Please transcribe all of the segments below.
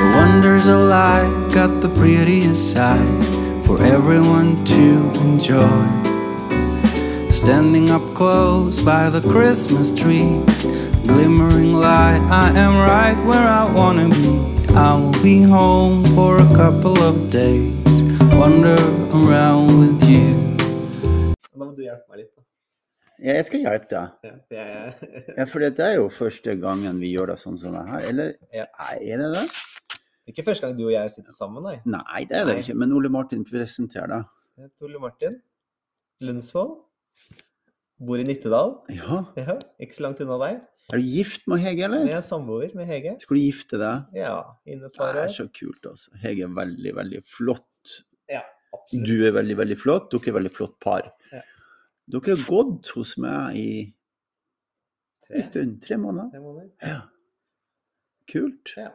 The wonders of life got the prettiest sight for everyone to enjoy. Standing up close by the Christmas tree, glimmering light, I am right where I wanna be. I will be home for a couple of days, wander around with you. Da må du hjelpe meg litt. da. Ja, jeg skal hjelpe deg. Ja, for jeg, Ja, for det er jo første gangen vi gjør det sånn som det her. Eller Ja. Nei, er det det? ikke første gang du og jeg sitter sammen, nei. Nei, det er det Nei. ikke. Men Ole Martin, presenter deg. Jeg heter Ole Martin Lundsvold. Bor i Nittedal. Ja. Ja, ikke så langt unna deg. Er du gift med Hege, eller? Jeg er samboer med Hege. Skal du gifte deg? Ja, innen et Det par er år. så kult, altså. Hege er veldig, veldig flott. Absolutt. Du er veldig, veldig flott. Dere er veldig flott par. Ja. Dere har gått hos meg i Tre. en stund. Tre måneder. Tre måneder. Ja. Kult. Ja.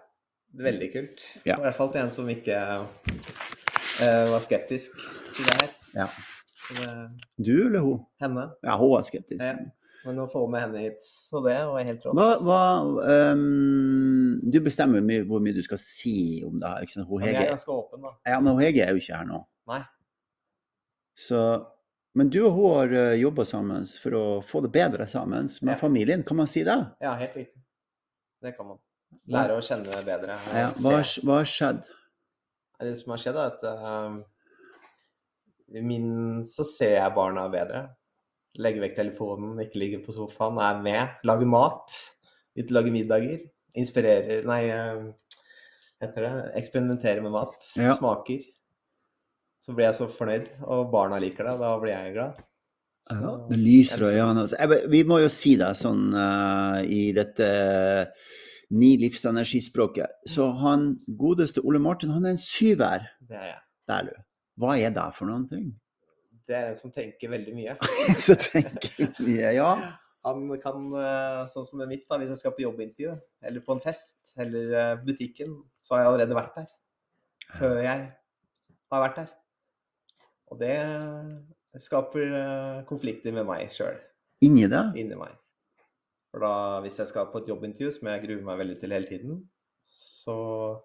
Veldig kult. Ja. I hvert fall til en som ikke eh, var skeptisk til det her. Ja. Så det- Du eller hun? Henne. Ja, hun er skeptisk. Ja. Men å få med henne hit, så det var helt rått. Hva, hva ehm, Du bestemmer jo mye, hvor mye du skal si om det her. ikke sant? Hun Men jeg Hege, er ganske åpen, da. ja, men hun Hege er jo ikke her nå. Nei. Så, men du og hun har jobba sammen for å få det bedre sammen med Ja. familien. Kan man si det? Ja, helt riktig. Det kan man. Lære å kjenne bedre. og Ja, se. hva, har sk- hva har skjedd? Nei, Det som har skjedd, er at eh, i min så ser jeg barna bedre. Legger vekk telefonen, ikke ligger på sofaen, er med. Lager mat. Ut og lager middager. Inspirerer Nei, eh, heter det eksperimenterer med mat. Ja. Smaker. Så blir jeg så fornøyd, og barna liker det. Da blir jeg glad. Ja, Så- det lyser i Jeg- øynene. altså. Jeg bare- Vi må jo si det sånn eh, i dette eh, ni livsenergispråket. Så han godeste Ole Martin, han er en syver. Det er jeg. Der, du. Hva er det for noen ting? Det er en som tenker veldig mye. Så tenker vi ja. Han kan, eh, sånn som med mitt, da, hvis jeg skal på jobbintervju, eller på en fest, eller eh, butikken, så har jeg allerede vært der. Før jeg har vært der. Og det skaper eh, konflikter med meg sjøl, Inni det? inni meg. For da, hvis jeg skal på et jobbintervju, som jeg gruer meg veldig til hele tiden, så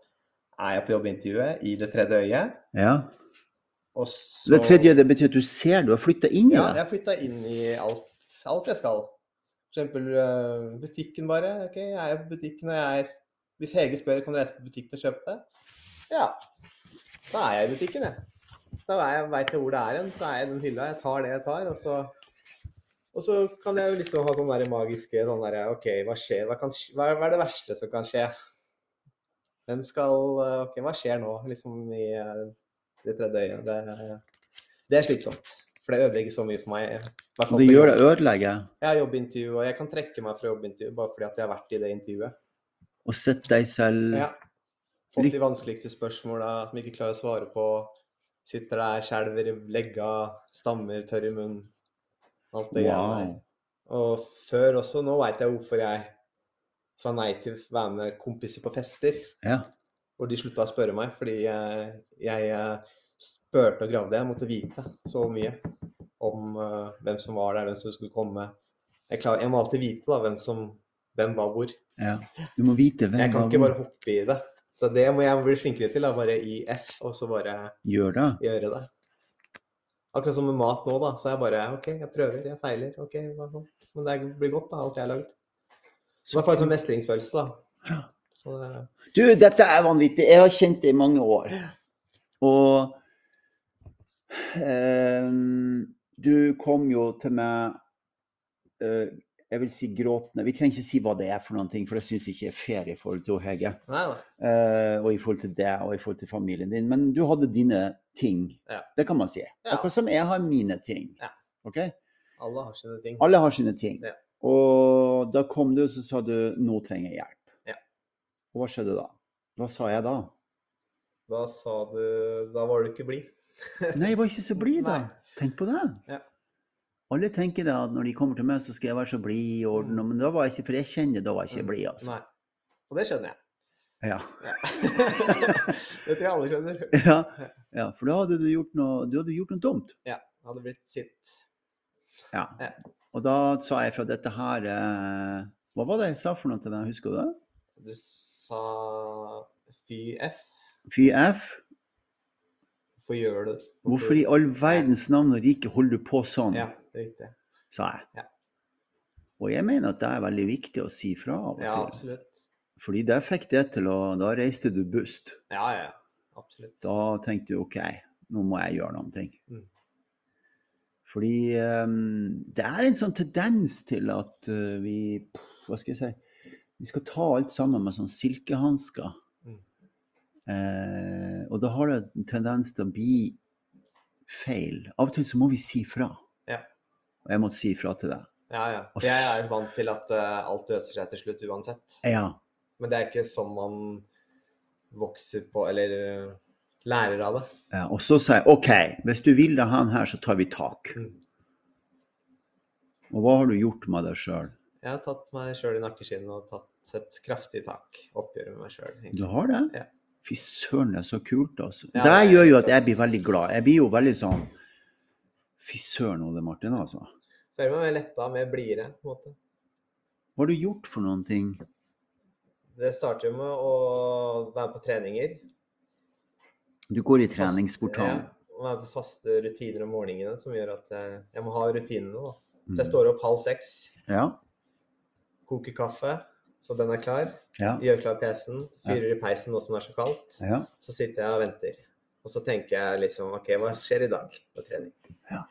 er jeg på jobbintervjuet i det tredje øyet, Ja. og så Det tredje det betyr at du ser, du har flytta inn i Ja, det. jeg flytta inn i alt, alt jeg skal. For eksempel øh, butikken bare. Ok, jeg er på butikken og jeg er Hvis Hege spør kan du reise på butikken og kjøpe det, ja, da er jeg i butikken, jeg. Da er jeg- vet jeg hvor det er hen, så er jeg i den hylla. Jeg tar det jeg tar, og så og så kan jeg jo liksom ha sånne der magiske sånn der, OK, hva skjer? Hva, kan, sk- hva, er- hva er det verste som kan skje? Hvem skal øh, OK, hva skjer nå? Liksom i øh, det tredje øyet. Det, det er slitsomt. For det ødelegger så mye for meg. i hvert fall Det på gjør jobb. det ødelegge. Jeg har jobbintervju, og jeg kan trekke meg fra jobbintervju bare fordi at jeg har vært i det intervjuet. Og sett deg selv Ja. Fått de vanskeligste spørsmåla som jeg ikke klarer å svare på. Sitter der, skjelver i legga, stammer, tørr i munnen. Alt det greiene der. Wow. Og før også, nå veit jeg hvorfor jeg sa nei til å være med kompiser på fester. Ja. Hvor de slutta å spørre meg fordi jeg, jeg eh, spurte og gravde. Jeg måtte vite så mye om eh, hvem som var der, hvem som skulle komme. Jeg, klar, jeg må alltid vite da, hvem som hvem var hvor. ja. Du må vite hvem Jeg kan av ikke hvor- bare hoppe i det. Så det må jeg bli flinkere til. Da. Bare i F, og så bare gjør det. gjøre det. Akkurat som med mat nå, da. Så jeg bare OK, jeg prøver, jeg feiler. OK, hva så? Men det blir godt, da, alt jeg har lagd. Så da får jeg en sånn mestringsfølelse, da. Så det, Du, dette er vanvittig. Jeg har kjent det i mange år. Og ehm, du kom jo til meg eh, Jeg vil si gråtende. Vi trenger ikke si hva det er for noen ting, for det syns ikke er fair i forhold til Hege. nei da. Eh, og i forhold til deg og i forhold til familien din. Men du hadde dine ting. Ja. Det kan man si. Ja. Akkurat som jeg har mine ting. Ja. Ok? Alle har sine ting. Alle har sine ting. Ja. Og da kom du, så sa du 'nå trenger jeg hjelp'. Ja. Og hva skjedde da? Hva sa jeg da? Da sa du Da var du ikke blid. Nei, jeg var ikke så blid, da. Nei. Tenk på det. Ja. Alle tenker da at når de kommer til meg, så skal jeg være så blid og ordna, Mm. men da var jeg ikke For jeg kjenner da var jeg ikke blid, altså. Nei. Og det skjønner jeg. Ja. det tror jeg alle skjønner. Ja. ja, for da hadde du gjort noe, du hadde gjort noe dumt. Ja, det hadde blitt sint. Ja. Ja. Og da sa jeg fra dette her eh, Hva var det jeg sa for noe til deg, husker du det? Du sa fy f. Fy F. Hvorfor gjør du det? Hvorfor i all verdens navn og rike holder du på sånn? Ja, det er riktig. sa jeg. Ja. Og jeg mener at det er veldig viktig å si fra av og Ja, til. absolutt. Fordi der fikk det til å Da reiste du bust. Ja, ja. Absolutt. Da tenkte du OK, nå må jeg gjøre noen ting. Mm. Fordi ehm, det er en sånn tendens til at eh, vi Hva skal jeg si Vi skal ta alt sammen med sånn silkehansker. Mm. Eh, og da har det en tendens til å bli feil. Av og til så må vi si fra. Ja. Og jeg måtte si fra til deg. Ja, ja. Jeg er jo vant til at eh, alt løser seg til slutt uansett. Ja. Men det er ikke sånn man vokser på eller eh, lærer av det. Ja, og så sa jeg OK, hvis du vil det han her, så tar vi tak. Mm. Og hva har du gjort med deg sjøl? Jeg har tatt meg sjøl i nakkeskinnet og tatt et kraftig tak. Oppgjør med meg sjøl. Du har det? Ja. Fy søren, det er så kult, altså. Ja, det det er gjør jo helt at jeg blir veldig glad. Jeg blir jo veldig sånn Fy søren, Ole Martin, altså. Hva Føler meg mer letta, mer blidere. på en måte. har du gjort for noen ting? Det starter jo med å være på treninger. Du går i Fast- treningsportalen. Ja, og være på faste rutiner om morgenene, som gjør at jeg, jeg må ha rutinene. da. Så jeg Mm. står opp halv seks, Ja. koker kaffe, så den er klar. Ja. Gjør klar PC-en, fyrer i peisen nå som det er så kaldt. ja. Så sitter jeg og venter. Og så tenker jeg liksom OK, hva skjer i dag på trening? Ja.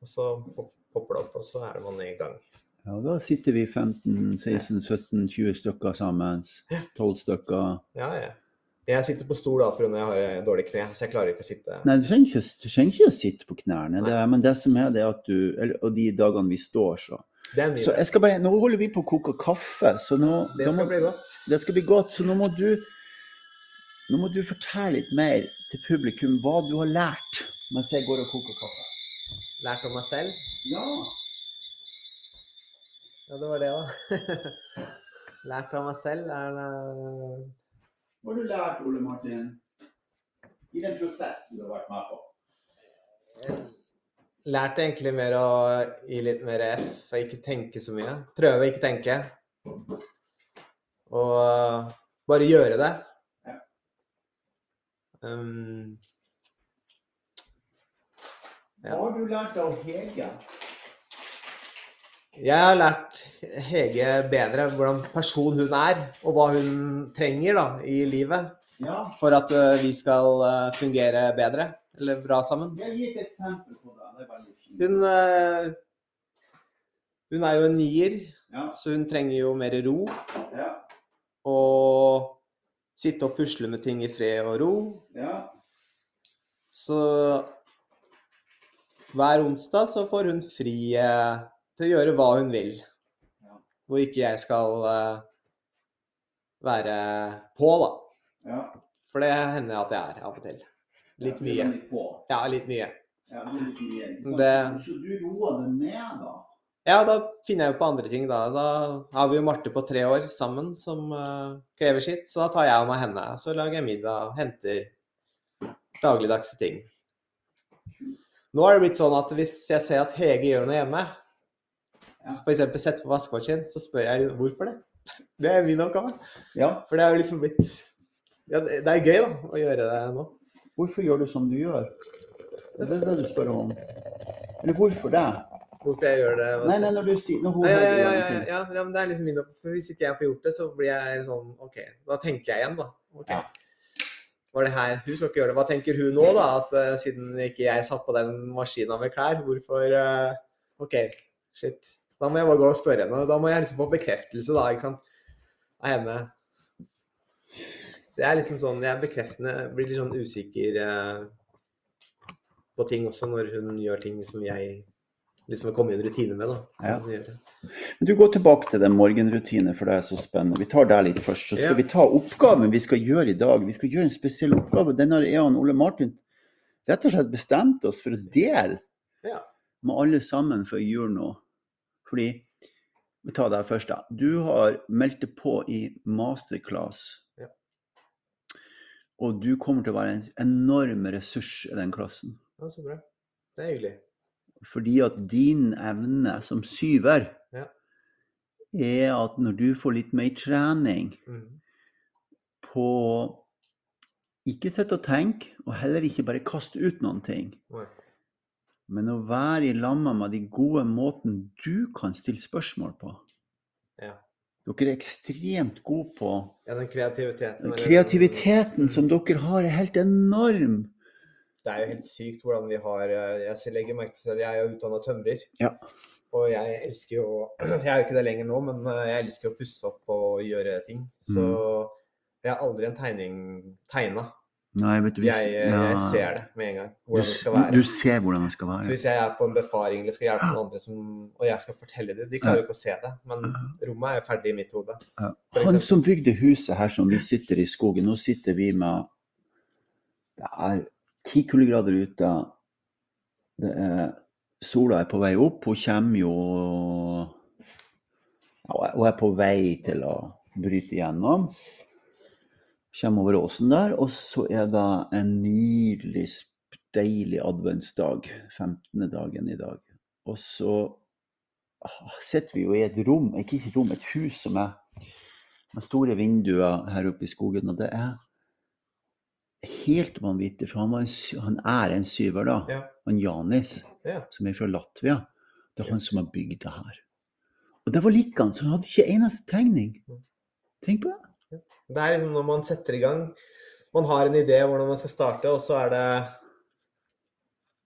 Og så pop- popper det opp, og så er man i gang. ja. Da sitter vi 15, 16, 17, 20 stykker sammen. 12 stykker. Ja, ja. Jeg sitter på stol da pga. jeg har dårlig kne, så jeg klarer ikke å sitte Nei, du trenger ikke, du trenger ikke å sitte på knærne. Nei. Det, er- men det som er, det er at du eller, Og de dagene vi står, så Det er mye. Så jeg skal bare, Nå holder vi på å koke kaffe, så nå det da skal må, bli godt. det skal bli godt. Så nå må du nå må du fortelle litt mer til publikum hva du har lært mens jeg går og koker kaffe. Lært om meg selv. Ja. Ja, det var det, da. Lært av meg selv er eh, Hva har du lært, Ole Martin? I den prosessen du har vært med på. Lært egentlig mer å gi litt mer F og ikke tenke så mye. Prøve å ikke tenke. Og eh, bare gjøre det. Ja. Um, Hva har du lært av Hege? jeg har lært Hege bedre hvordan person hun er, og hva hun trenger da, i livet Ja, for at eh, vi skal eh, fungere bedre eller bra sammen. jeg har gitt et eksempel på det. Det er veldig fint. Hun, eh, hun er jo en nier, Ja, så hun trenger jo mer ro. ja, Og sitte og pusle med ting i fred og ro. ja. Så hver onsdag så får hun fri eh, til å gjøre hva hun vil. Ja. Hvor ikke jeg skal eh, være på, da. ja. For det hender at jeg er av og til. Litt mye. Ja, litt mye. Ja, det er litt mye. ikke sant? Det- Så du roer det ned, da? Ja, da finner jeg jo på andre ting, da. Da har vi jo Marte på tre år sammen som eh, krever sitt, så da tar jeg av meg henne. Så lager jeg middag, henter dagligdagse ting. Nå er det blitt sånn at hvis jeg ser at Hege gjør noe hjemme, Ja. f.eks. setter på vaskemaskin, så spør jeg hvorfor det. Det er min oppgave. Ja. For det er jo liksom blitt Ja, det det er gøy, da, å gjøre det nå. Hvorfor gjør du som du gjør? Det er det du spør om. Eller hvorfor det? Hvorfor jeg gjør det. hva Nei, som- nei, når du sier når hun Ja, ja, hører ja, det, ja, ja, ja, ja, men det er liksom min opp- for Hvis ikke jeg får gjort det, så blir jeg sånn OK, da tenker jeg igjen, da. Ok. Ja. Var det her Hun skal ikke gjøre det. Hva tenker hun nå, da? At eh, siden ikke jeg satt på den maskina med klær, hvorfor eh, OK, shit. Da må jeg bare gå og spørre henne. og Da må jeg liksom få bekreftelse, da, ikke sant, av henne. Så jeg er liksom sånn Jeg er bekreftende, blir litt sånn usikker eh, på ting også når hun gjør ting som jeg liksom har kommet i en rutine med, da. Ja. Hun gjør det. Men Du går tilbake til den morgenrutinen, for det er så spennende. Vi tar deg litt først. Så skal Ja. vi ta oppgaven vi skal gjøre i dag. Vi skal gjøre en spesiell oppgave. Den har jeg og Ole Martin rett og slett bestemt oss for å dele Ja. med alle sammen før jul nå. Fordi Vi tar deg først, da. Du har meldt deg på i masterclass. Ja. Og du kommer til å være en enorm ressurs i den klassen. Ja, så bra. Det er hyggelig. Fordi at din evne som syver Ja. er at når du får litt mer trening Mm. på ikke sitte og tenke, og heller ikke bare kaste ut noen ting, Nei. men å være i lamma med de gode måten du kan stille spørsmål på. Ja. Dere er ekstremt gode på Ja, den kreativiteten. eller den- Kreativiteten som dere har, er helt enorm. Det er jo helt sykt hvordan vi har eh, Jeg selv legger merke til selv, jeg er jo utdanna tømrer. Ja. Og jeg elsker jo Jeg er jo ikke det lenger nå, men eh, jeg elsker å pusse opp og gjøre ting. Så Mm. jeg har aldri en tegning tegna. Nei, vet du, hvis- Jeg, eh, jeg ja. ser det med en gang. Du, Hvordan det skal du være. ser hvordan det skal Så være. hvis jeg er på en befaring eller skal hjelpe noen andre, som, og jeg skal fortelle det De klarer jo ikke å se det, men rommet er jo ferdig i mitt hode. Ja. for Han eksempel. som bygde huset her som vi sitter i skogen, nå sitter vi med Det er ti kuldegrader ute. Det er, sola er på vei opp. Hun kommer jo ja, Hun er på vei til å bryte igjennom. Kommer over åsen der, og så er det en nydelig, sp- deilig adventsdag. 15. dagen i dag. Og så ah, sitter vi jo i et rom, ikke et rom, et hus som er med store vinduer her oppe i skogen, og det er helt vanvittig, for han, var en, sy- han er en syver, da. Ja. Han Janis, Ja. som er fra Latvia. Det er han som har bygd det her. Og det var likedan, så han hadde ikke eneste tegning. Mm. Tenk på det. Det er liksom når man setter i gang Man har en idé om hvordan man skal starte, og så er det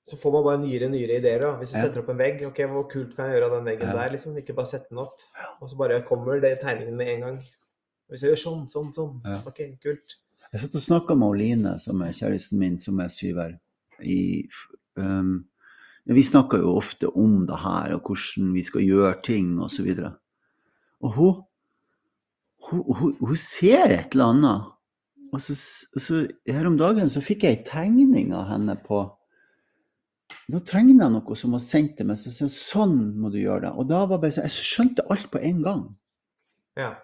Så får man bare nyere og nyere ideer. da. Hvis du Ja. setter opp en vegg, ok, hvor kult kan jeg gjøre av den veggen Ja. der? liksom, Ikke bare sette den opp. Og så bare kommer det i tegningen med en gang. Hvis jeg gjør sånn, sånn, sånn. Ja. Ok, kult. Jeg satt og snakka med Oline, som er kjæresten min, som er syver. I, um, vi snakker jo ofte om det her, og hvordan vi skal gjøre ting osv. Og, så og hun, hun, hun, hun ser et eller annet. Og så, og så her om dagen så fikk jeg ei tegning av henne på Nå tegna jeg noe som hun sendte meg, så sa hun sånn må du gjøre det. Og da var bare så, jeg skjønte alt på en gang. Ja.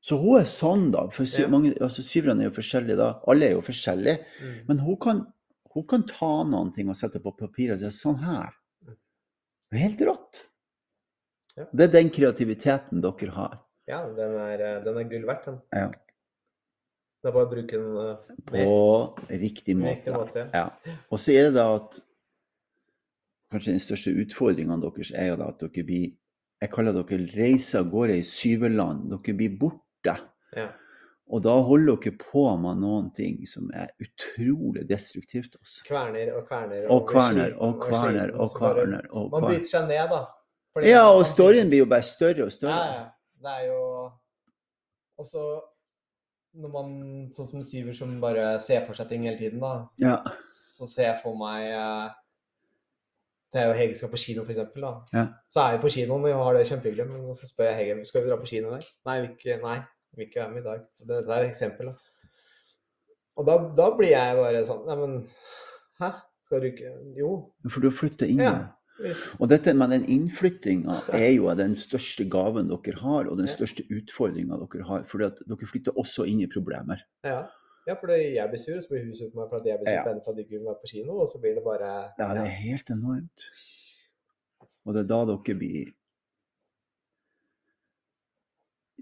Så hun er sånn, da. For sy Ja. mange, altså, syverne er jo forskjellige, da. Alle er jo forskjellige. Mm. Men hun kan, hun kan ta noen ting og sette på papiret og si sånn her. Det er helt rått. Mm. Ja. Det er den kreativiteten dere har. Ja, den er, eh, den er gull verdt, den. Ja. Det er bare å bruke den eh, mer. På riktig måte. riktig måte, Ja. Og så er det da at kanskje den største utfordringen deres er jo da at dere blir Jeg kaller dere reiser av gårde i syverland. Dere blir borte. Ja. Og da holder dere på med noen ting som er utrolig destruktivt. Altså. Kverner og kverner. Og blir kverner sliten og sliten, kverner og og så bare- kverner. og Man kverner. bryter seg ned, da. Fordi Ja, man og kan storyen brytes- blir jo bare større og Ja, større. ja. Det er jo Og så når man, sånn som en syver som bare ser for seg ting hele tiden, da, Ja. så ser jeg for meg eh, Det er jo Hege skal på kino, for eksempel, da. Ja. Så er vi på kinoen og har det kjempehyggelig, men så spør jeg Hege skal vi dra på kino i dag. Nei, vi ikke, nei, vi vil ikke være med i dag. Så Det, det er et eksempel, da. Og da, da blir jeg bare sånn Nei, men hæ? Skal du ikke Jo. For du har flytta inn. Ja. der. Hvis, Og dette med den innflyttinga er jo den største gaven dere har, og den Ja. største utfordringa dere har. For dere flytter også inn i problemer. ja. ja, fordi jeg blir sur, og så blir hun sur på meg for at jeg blir sur Ja. på henne for at ikke hun var på kino, og så blir det bare Ja, det er helt enormt. Og det er da dere blir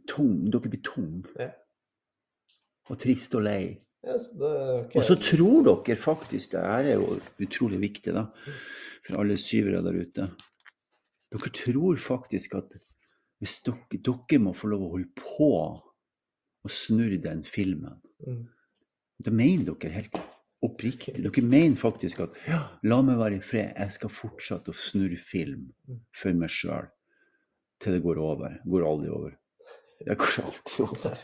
tung. Dere blir tung. Ja. Og trist og lei. Ja, så det, ok. Og så tror dere faktisk Det her er jo utrolig viktig, da. For alle syvere der ute. Dere tror faktisk at hvis dere, dere må få lov å holde på og snurre den filmen Mm. Det mener dere helt oppriktig. Dere mener faktisk at ja, la meg være i fred, jeg skal fortsette å snurre film for meg sjøl til det går over. Går aldri over. Det går alltid over.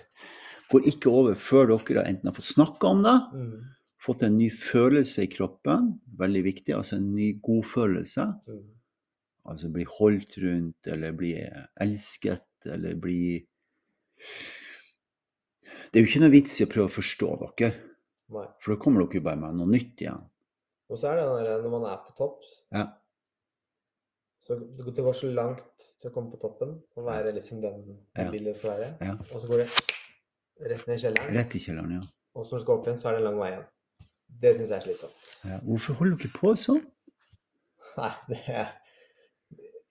Går ikke over før dere enten har fått snakka om det, Mm. fått en ny følelse i kroppen, veldig viktig, altså en ny god følelse. Mm. Altså bli holdt rundt, eller bli elsket, eller bli Det er jo ikke noe vits i å prøve å forstå dere, Nei. for da kommer dere jo bare med noe nytt igjen. Og så er det den der når man er på topp, Ja. så det går- det går så langt til å komme på toppen og være liksom den du Ja. vil det skal være. Ja. Og så går det rett ned i kjelleren, Rett i kjelleren, ja. og så når du skal opp igjen, så er det en lang vei igjen. Det syns jeg er slitsomt. ja. Hvorfor holder dere på sånn? Nei, det er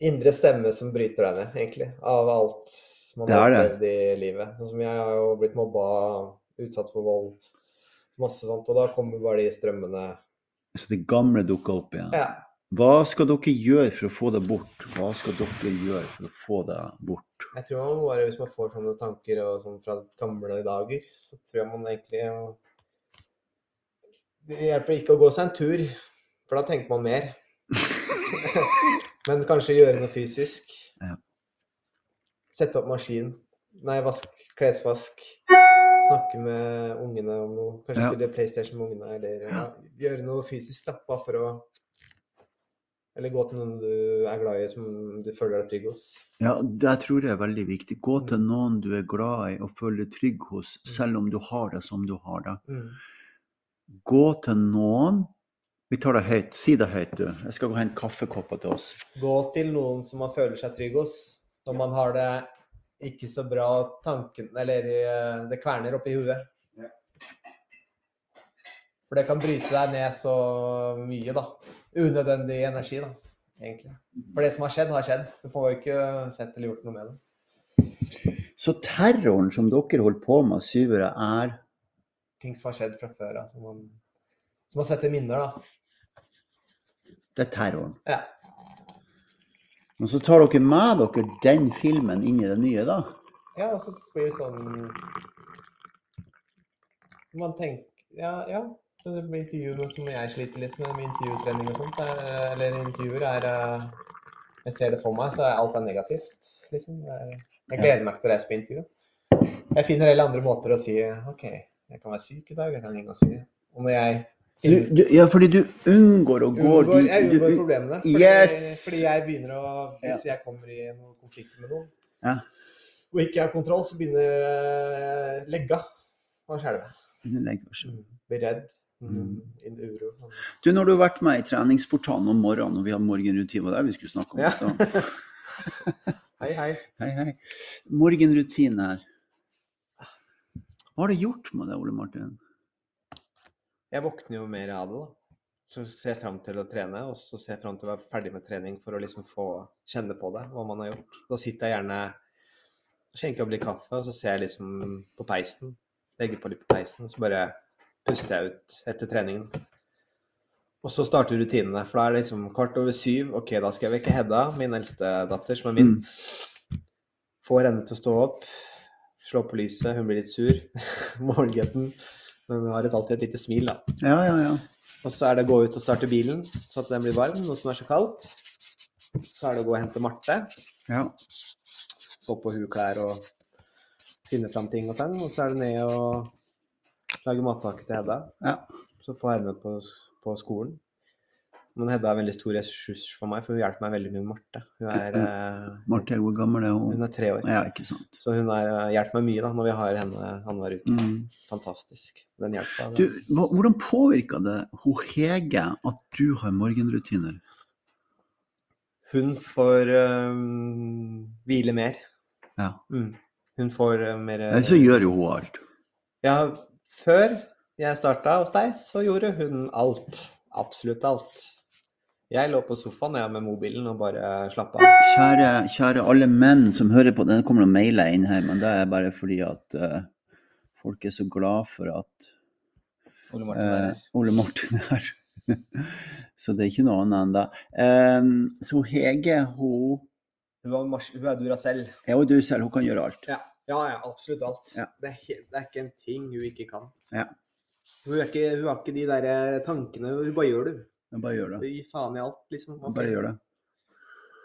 indre stemme som bryter deg ned, egentlig. Av alt man Det har er det. opplevd i livet. Sånn som jeg har jo blitt mobba, utsatt for vold, masse sånt. Og da kommer bare de strømmene. Så det gamle dukker opp igjen. Ja. Hva skal dere gjøre for å få det bort? Hva skal dere gjøre for å få det bort? Jeg tror man må bare, hvis man får sånne tanker og sånn fra gamle dager, så tror jeg man egentlig å- Det hjelper ikke å gå seg en tur, for da tenker man mer. Men kanskje gjøre noe fysisk. Ja. Sette opp maskin. Nei, vask, klesvask. Snakke med ungene om noe. Kanskje Ja. spille PlayStation med ungene, eller ja. gjøre noe fysisk. Da, bare for å Eller gå til noen du er glad i, som du føler deg trygg hos. Ja, det tror jeg er veldig viktig. Gå Mm. til noen du er glad i og føler deg trygg hos, selv om du har det som du har det. Mm. Gå til noen Vi tar det høyt. Si det høyt, du. Jeg skal gå og hente kaffekopper til oss. Gå til noen som man føler seg trygg hos. Når man har det ikke så bra, tanken Eller eh, det kverner oppi huet. For det kan bryte deg ned så mye, da. Unødvendig energi, da. Egentlig. For det som har skjedd, har skjedd. Du får jo ikke sett eller gjort noe med det. Så terroren som dere holder på med, syvere, er Ting som har skjedd fra før av, som man, som man setter minner, da. Det er terroren. Ja. Men så tar dere med dere den filmen inn i det nye, da. Ja, og så blir det sånn Man tenker Ja, ja. Så det blir intervju med som jeg sliter litt med, med intervjutrening og sånt. Er, eller intervjuer er eh, Jeg ser det for meg, så er alt er negativt, liksom. Det er, jeg gleder meg ikke til å reise på intervju. Jeg finner heller andre måter å si OK, jeg kan være syk i dag, jeg kan ringe og si det. Og når jeg Du, du, ja, fordi du unngår å gå unngår, dit jeg du- unngår problemene. Fordi, Yes! fordi jeg begynner å Hvis jeg kommer i noen konflikter med noen, Ja. og ikke har kontroll, så begynner eh, legga å skjelve. Legg vær så god. Blir redd. Mm. Mm. In uro. Du, når du har vært med i treningsportalen om morgenen, og vi har morgenrutine, det er det vi skulle snakke om. i Ja. stad. Hei, hei. Hei, hei. Morgenrutine her. Hva har det gjort med deg, Ole Martin? Jeg våkner jo mer av det, da. Så ser jeg fram til å trene, og så ser jeg fram til å være ferdig med trening for å liksom få kjenne på det, hva man har gjort. Da sitter jeg gjerne skjenker opp litt kaffe, og så ser jeg liksom på peisen. Legger på litt på peisen, og så bare puster jeg ut etter treningen. Og så starter rutinene, for da er det liksom kvart over syv. Ok, da skal jeg vekke Hedda, min eldste datter, som er min. Mm. Får henne til å stå opp, slå på lyset, hun blir litt sur. Morgengetten. Men hun har et, alltid et lite smil, da. Ja, ja, ja. Og så er det å gå ut og starte bilen, så at den blir varm, nå som det er så kaldt. Så er det å gå og hente Marte, ja. få på hun klær og finne fram ting og tang. Og så er det ned og lage matpakke til Hedda. ja. Så få henne på, på skolen. Men Hedda er en veldig stor ressurs for meg, for hun hjelper meg veldig mye med Marte. Hun er, eh, Marte, hvor gammel er hun? hun er tre år. Ja, ikke sant. Så hun har eh, hjulpet meg mye da, når vi har henne annenhver uke. Mm. Fantastisk. Den hjelpa. Du, hva, hvordan påvirker det hun Hege at du har morgenrutiner? Hun får øhm, hvile mer. Ja. Mm. Hun får øh, mer øh, Ellers så gjør jo hun alt. Ja, før jeg starta hos deg, så gjorde hun alt. Absolutt alt. Jeg lå på sofaen jeg, med mobilen og bare slappa av. Kjære, kjære alle menn som hører på, den kommer til å maile inn her, men det er bare fordi at eh, folk er så glad for at Ole Martin er Eh, her. Ole Martin er her. så det er ikke noe annet enn det. Eh, så Hege, hun Hun var mars- hun er dura selv. er jo du selv, hun kan gjøre alt. Ja, ja, ja absolutt alt. Ja. Det, er, he- det er ikke en ting hun ikke kan. Ja. Hun, er ikke, hun har ikke de der eh, tankene. Hun bare gjør det. Men bare gjør Hun det. gir faen i alt, liksom. Men Ok. Bare gjør det.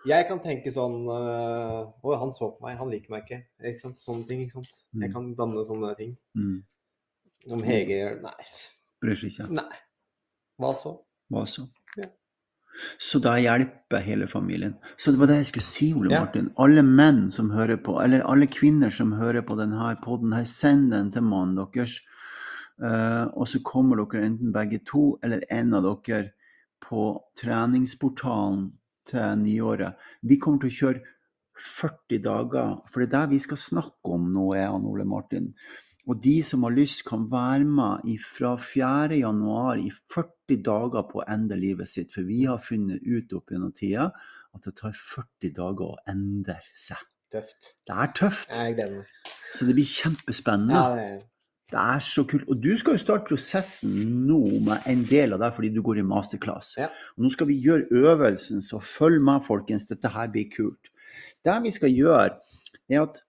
Jeg kan tenke sånn øh, Å, han så på meg, han liker meg ikke. ikke sant? Sånne ting. ikke sant? Jeg Mm. kan danne sånne ting. Mm. Om Hege gjør Nei. Bryr seg ikke. Nei. Hva så? Hva så? Ja. Så da hjelper hele familien. Så det var det jeg skulle si, Ole Ja. Martin. Alle menn som hører på, eller alle kvinner som hører på denne podden her, send den til mannen deres. Eh, og så kommer dere enten begge to eller en av dere på treningsportalen til nyåret. Vi kommer til å kjøre 40 dager, for det er det vi skal snakke om nå, jeg og Ole Martin. Og de som har lyst, kan være med fra 4. januar i 40 dager på å ende livet sitt. For vi har funnet ut opp gjennom tida at det tar 40 dager å endre seg. Tøft. Det er tøft, Jeg gleder meg. så det blir kjempespennende. Ja, det er Det er så kult. Og du skal jo starte prosessen nå med en del av deg fordi du går i masterclass. Ja. Og nå skal vi gjøre øvelsen, så følg med, folkens. Dette her blir kult. Det vi skal gjøre, er at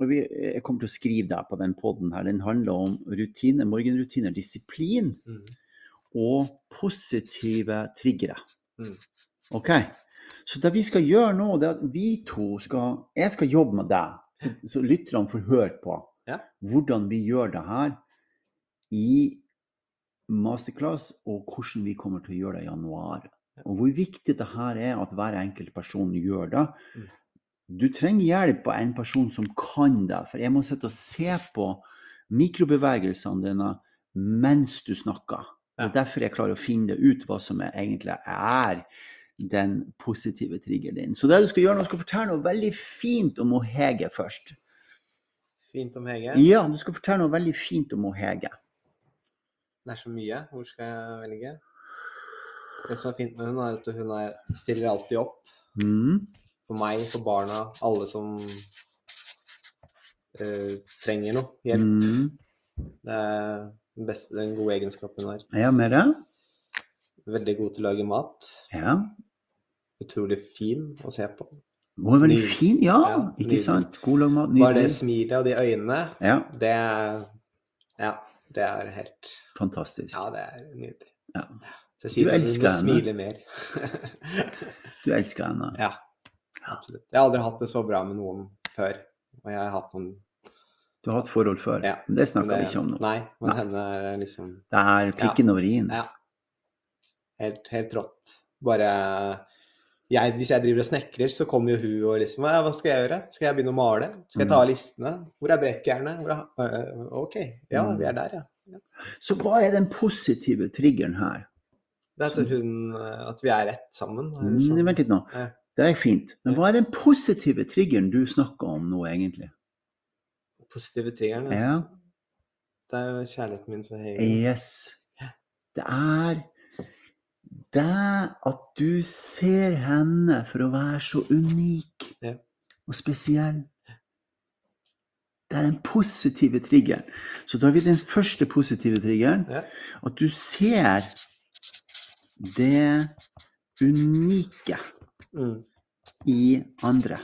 og vi, Jeg kommer til å skrive deg på den poden her. Den handler om rutine, morgenrutiner, disiplin Mm. og positive triggere. Mm. OK? Så det vi skal gjøre nå, det er at vi to skal Jeg skal jobbe med deg, så, så lytterne får høre på Ja. hvordan vi gjør det her i masterclass, og hvordan vi kommer til å gjøre det i januar. Og hvor viktig det her er at hver enkelt person gjør det. Mm. Du trenger hjelp av en person som kan det, for jeg må sitte og se på mikrobevegelsene dine mens du snakker. Ja. Det er derfor jeg klarer å finne ut hva som er, egentlig er den positive triggeren din. Så det du skal gjøre nå, du skal fortelle noe veldig fint om hun Hege først. Fint om Hege. Ja, du skal fortelle noe veldig fint om hun Hege. Det er så mye. Hvor skal jeg velge? Det som er fint med hun er at hun er, stiller alltid opp. Mm. For meg, for barna, alle som eh, trenger noe. Hjelp. Mm. Det er den, beste, den gode egenskapen hun har. Er jeg med deg? Veldig god til å lage mat. Ja. Utrolig fin å se på. Hun er veldig Nydelig. fin, ja. Ja, Ikke nydelig. sant? God lag mat, Bare det nydelig. smilet og de øynene, Ja, det er Ja, det er helt fantastisk. Ja, det er nydelig. Ja. Så jeg sier Du til henne, du må elsker smile mer. Du elsker henne. ja, absolutt. Jeg har aldri hatt det så bra med noen før. Og jeg har hatt noen Du har hatt forhold før, Ja, men det men snakker vi ikke om nå. Nei, men Nei. henne er liksom Det er prikken over i-en. Ja. helt, helt rått. Bare jeg, Hvis jeg driver og snekrer, så kommer jo hun og liksom «Ja, Hva skal jeg gjøre? Skal jeg begynne å male? Skal jeg Mm. ta av listene? Hvor er brekkjernet? Hvor er, øh, OK. Ja, Mm. vi er der, ja. Så hva er den positive triggeren her? Det er at hun eh, At vi er ett sammen. eller Mm, sånn. vent litt nå. Ja. Det er fint. Men Ja. hva er den positive triggeren du snakker om nå, egentlig? Positive triggeren. altså. Ja. Det er jo kjærligheten min for Hege. Yes. Det er det at du ser henne for å være så unik Ja. og spesiell. Det er den positive triggeren. Så da har vi den første positive triggeren. Ja. At du ser det unike Mm. i andre.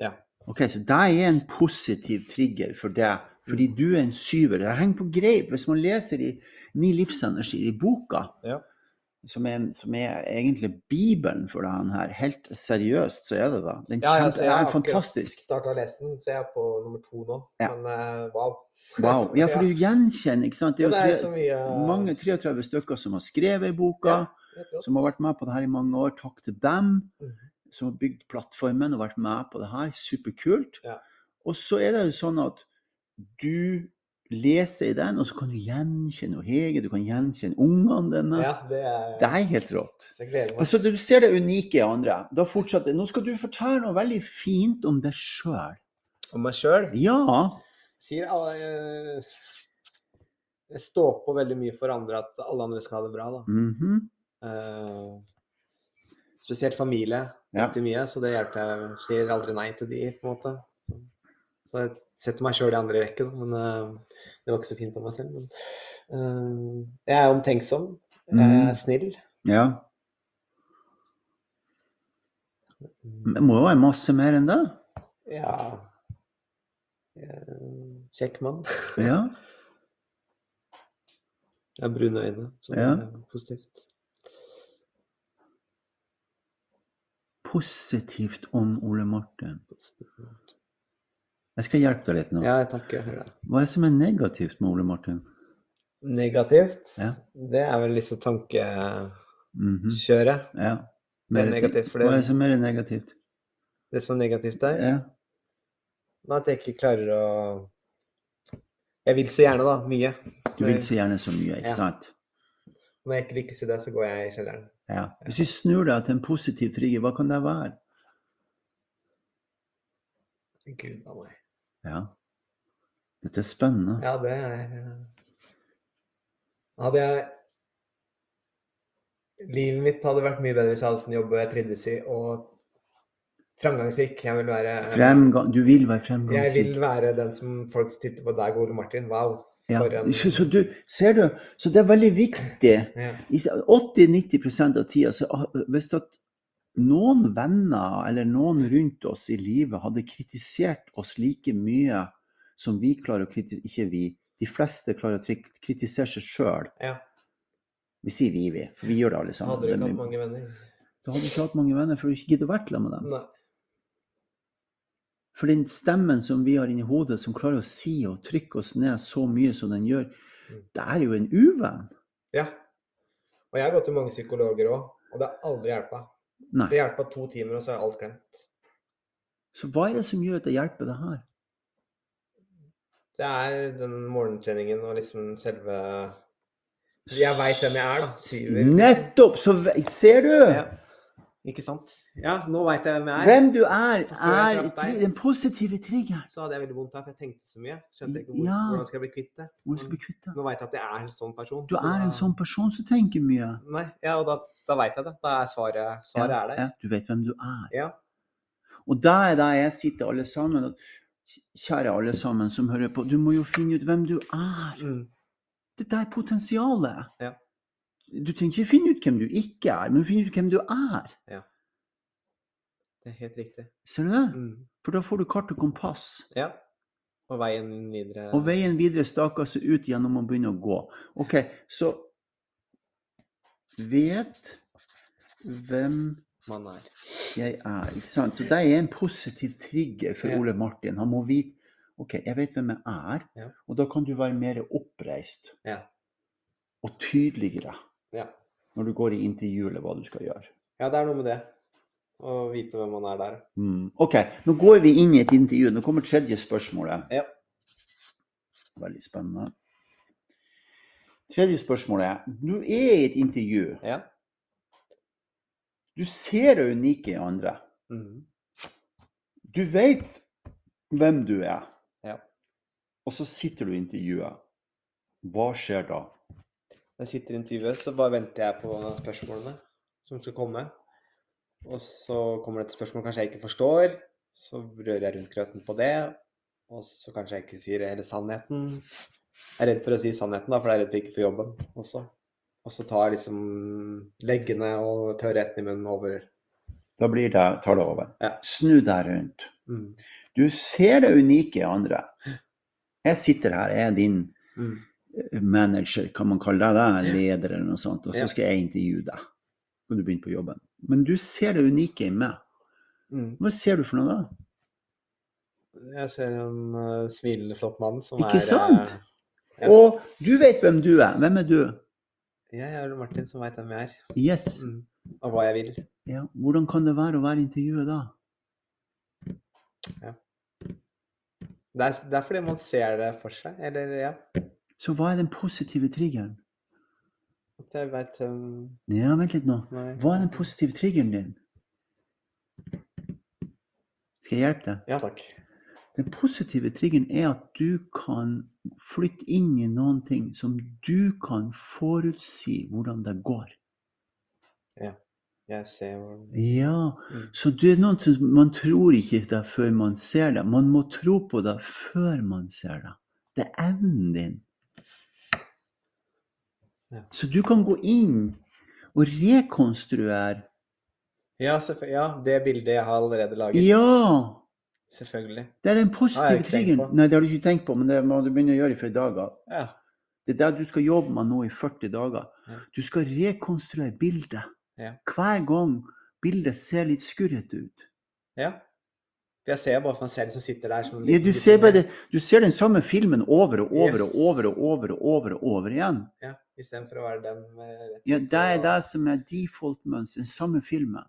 Ja. Ok, Så det er en positiv trigger for deg, fordi Mm. du er en syver. Det henger på greip. Hvis man leser i Ni livsenergier, i boka, Ja. som, er, en- som er egentlig bibelen for den her, helt seriøst, så er det det. Den Ja, ja, kjempe, så jeg det har er fantastisk. starta å lese den, så jeg er på nummer to nå. Ja. Men eh, wow. Wow. Ja, for du gjenkjenner, ikke sant. Det Ja, det er er jo så tre, mye mange 33 stykker som har skrevet i boka. Ja. helt rått. som har vært med på det her i mange år. Takk til dem Mhm. som har bygd plattformen og vært med på det her. Superkult. Ja. Og så er det jo sånn at du leser i den, og så kan du gjenkjenne Hege, du kan gjenkjenne ungene dine. Ja, det er, Det er helt rått. Så jeg gleder meg. Altså, du ser det unike i andre. Da fortsetter Nå skal du fortelle noe veldig fint om deg sjøl. Om meg sjøl Ja. sier alle eh, Jeg står på veldig mye for andre, at alle andre skal ha det bra, da. mhm, Eh, spesielt familie Ja. alltid mye, så det hjelper jeg. Sier aldri nei til de, på en måte. Så, så jeg setter meg sjøl i andre rekke, da, men eh, det var ikke så fint av meg selv. Men, eh, jeg er omtenksom, jeg Mhm. er snill. ja. Mm. Men Det må jo være masse mer enn det. Ja jeg er en Kjekk mann. Ja. Jeg har brune øyne, så det Ja. er positivt. Positivt om Ole Martin. Positivt. Jeg skal hjelpe deg litt nå. Ja, jeg takker. for det. Hva er det som er negativt med Ole Martin? Negativt, Ja. det er vel liksom tankekjøret. Mhm, ja. Det er negativt for det. Hva er det som er negativt? Det som er negativt der. Ja. Nei, at jeg ikke klarer å Jeg vil så gjerne, da. Mye. Du vil så gjerne så mye, ikke Ja. sant? Når jeg ikke lykkes i det, så går jeg i kjelleren. Ja. Hvis vi snur deg til en positiv trigger, hva kan det være? Gud a meg. Ja. Dette er spennende. Ja, det er eh, Hadde jeg Livet mitt hadde vært mye bedre hvis jeg hadde hatt en jobb jeg trivdes i, og framgangsrik. Jeg vil være Fremgang, du vil være Jeg fremgangsrik. vil være den som folk titter på deg, Ole Martin. Wow. Ja. For en Så, så, du, ser du? så det er veldig viktig. ja. I 80-90 av tida, så ah, hvis at noen venner eller noen rundt oss i livet hadde kritisert oss like mye som vi klarer å kritisere Ikke vi. De fleste klarer å tri- kritisere seg sjøl. Ja. Vi sier vi, vi. For vi gjør det alle sammen. Hadde du Det er ikke hatt mye- mange Mm. venner? Da hadde du ikke hatt mange venner, for du ikke gidder å være sammen med dem. Nei. For den stemmen som vi har inni hodet, som klarer å si og trykke oss ned så mye som den gjør, Mm. det er jo en uvenn. Ja. Og jeg har gått til mange psykologer òg, og det har aldri hjulpet. Nei. Det hjelpa to timer, og så er alt glemt. Så hva er det som gjør at det hjelper det her? Det er den morgentreningen og liksom selve Jeg veit hvem jeg er, da. Syver. Nettopp! Så ve- ser du! Ja. Ikke sant? Ja, nå veit jeg hvem jeg er. Hvem du er, For før jeg er traff deg, tri- den positive triggeren. Så hadde jeg veldig vondt her, for jeg tenkte så mye. Skjønte ikke hvor, Ja. hvordan skal jeg bli kvitt det. Hvor du skal bli kvitt deg. Nå veit jeg at jeg er en sånn person. Du så er da- en sånn person som tenker mye. Nei, ja, og da, da veit jeg det. Da er svaret, svaret Ja, er der. ja, Du vet hvem du er. Ja. Og der er der jeg sitter alle sammen. og Kjære alle sammen som hører på, du må jo finne ut hvem du er. Mm. Det der potensialet. Ja. Du trenger ikke finne ut hvem du ikke er, men finne ut hvem du er. Det er helt riktig. Ser du det? Mm. For da får du kart og kompass. Ja. Og veien videre Og veien videre staker seg ut gjennom å begynne å gå. OK, så Vet hvem man er. jeg er. Ikke sant? Så det er en positiv trigger for Ja. Ole Martin. Han må vite OK, jeg vet hvem jeg er, Ja. og da kan du være mer oppreist Ja. og tydeligere Ja. når du går i intervju eller hva du skal gjøre. ja, det er noe med det. Å vite hvem man er der. Mm. OK, nå går vi inn i et intervju. Nå kommer tredje spørsmålet. Ja. Veldig spennende. Tredje spørsmålet. Du er i et intervju. Ja. Du ser det unike i andre. Mhm. Du vet hvem du er. Ja. Og så sitter du i intervjuet. Hva skjer da? Jeg sitter i intervjuet, så bare venter jeg på spørsmålene som skal komme. Og så kommer det et spørsmål kanskje jeg ikke forstår. Så rører jeg rundt grøten på det. Og så kanskje jeg ikke sier hele sannheten. Jeg er redd for å si sannheten, da, for jeg er redd for ikke å få jobben også. Og så tar jeg liksom leggene og tørrheten i munnen over. Da blir det, tar det over. Ja. Snu deg rundt. Mm. Du ser det unike i andre. Jeg sitter her, jeg er din Mm. manager, kan man kalle deg det, leder eller noe sånt, og Ja. så skal jeg intervjue deg. Skal du begynne på jobben. Men du ser det unike i meg. Mm. Hva ser du for noe da? Jeg ser en eh, smilende, flott mann som er Ikke eh, sant? Ja. Og du vet hvem du er. Hvem er du? eh, Jeg er Ole Martin, som veit hvem jeg er. Yes. Mm. Og hva jeg vil. Ja. Hvordan kan det være å være i intervjuet da? Det er, det er fordi man ser det for seg. Eller ja, Så hva er den positive triggeren? at jeg veit um, Ja, vent litt nå. Nei. Hva er den positive triggeren din? Skal jeg hjelpe deg? Ja takk. Den positive triggeren er at du kan flytte inn i noen ting som du kan forutsi hvordan det går. Jeg ser hvor Ja, Mm. så det er noen som man tror ikke det før man ser det. Man må tro på det før man ser det. Det er evnen din. Ja. Så du kan gå inn og rekonstruere. Ja, selvfø- ja, det bildet jeg har allerede laget. Ja! Selvfølgelig. Det er den Nei, jeg har positive ikke tenkt triggeren. på. Nei, det har du ikke tenkt på, men det må du begynne å gjøre fra i dag av. Ja. Det er det du skal jobbe med nå i 40 dager. Ja. Du skal rekonstruere bildet. Ja. Hver gang bildet ser litt skurrete ut. ja. Jeg ser bare for meg selv som sitter der som en Ja, liten du, gutt ser med- bare, det- du ser den samme filmen over og over og Yes. over og over og over og over igjen. Ja, Istedenfor å være eh, den med Ja, det er det som er default-mønster, den samme filmen.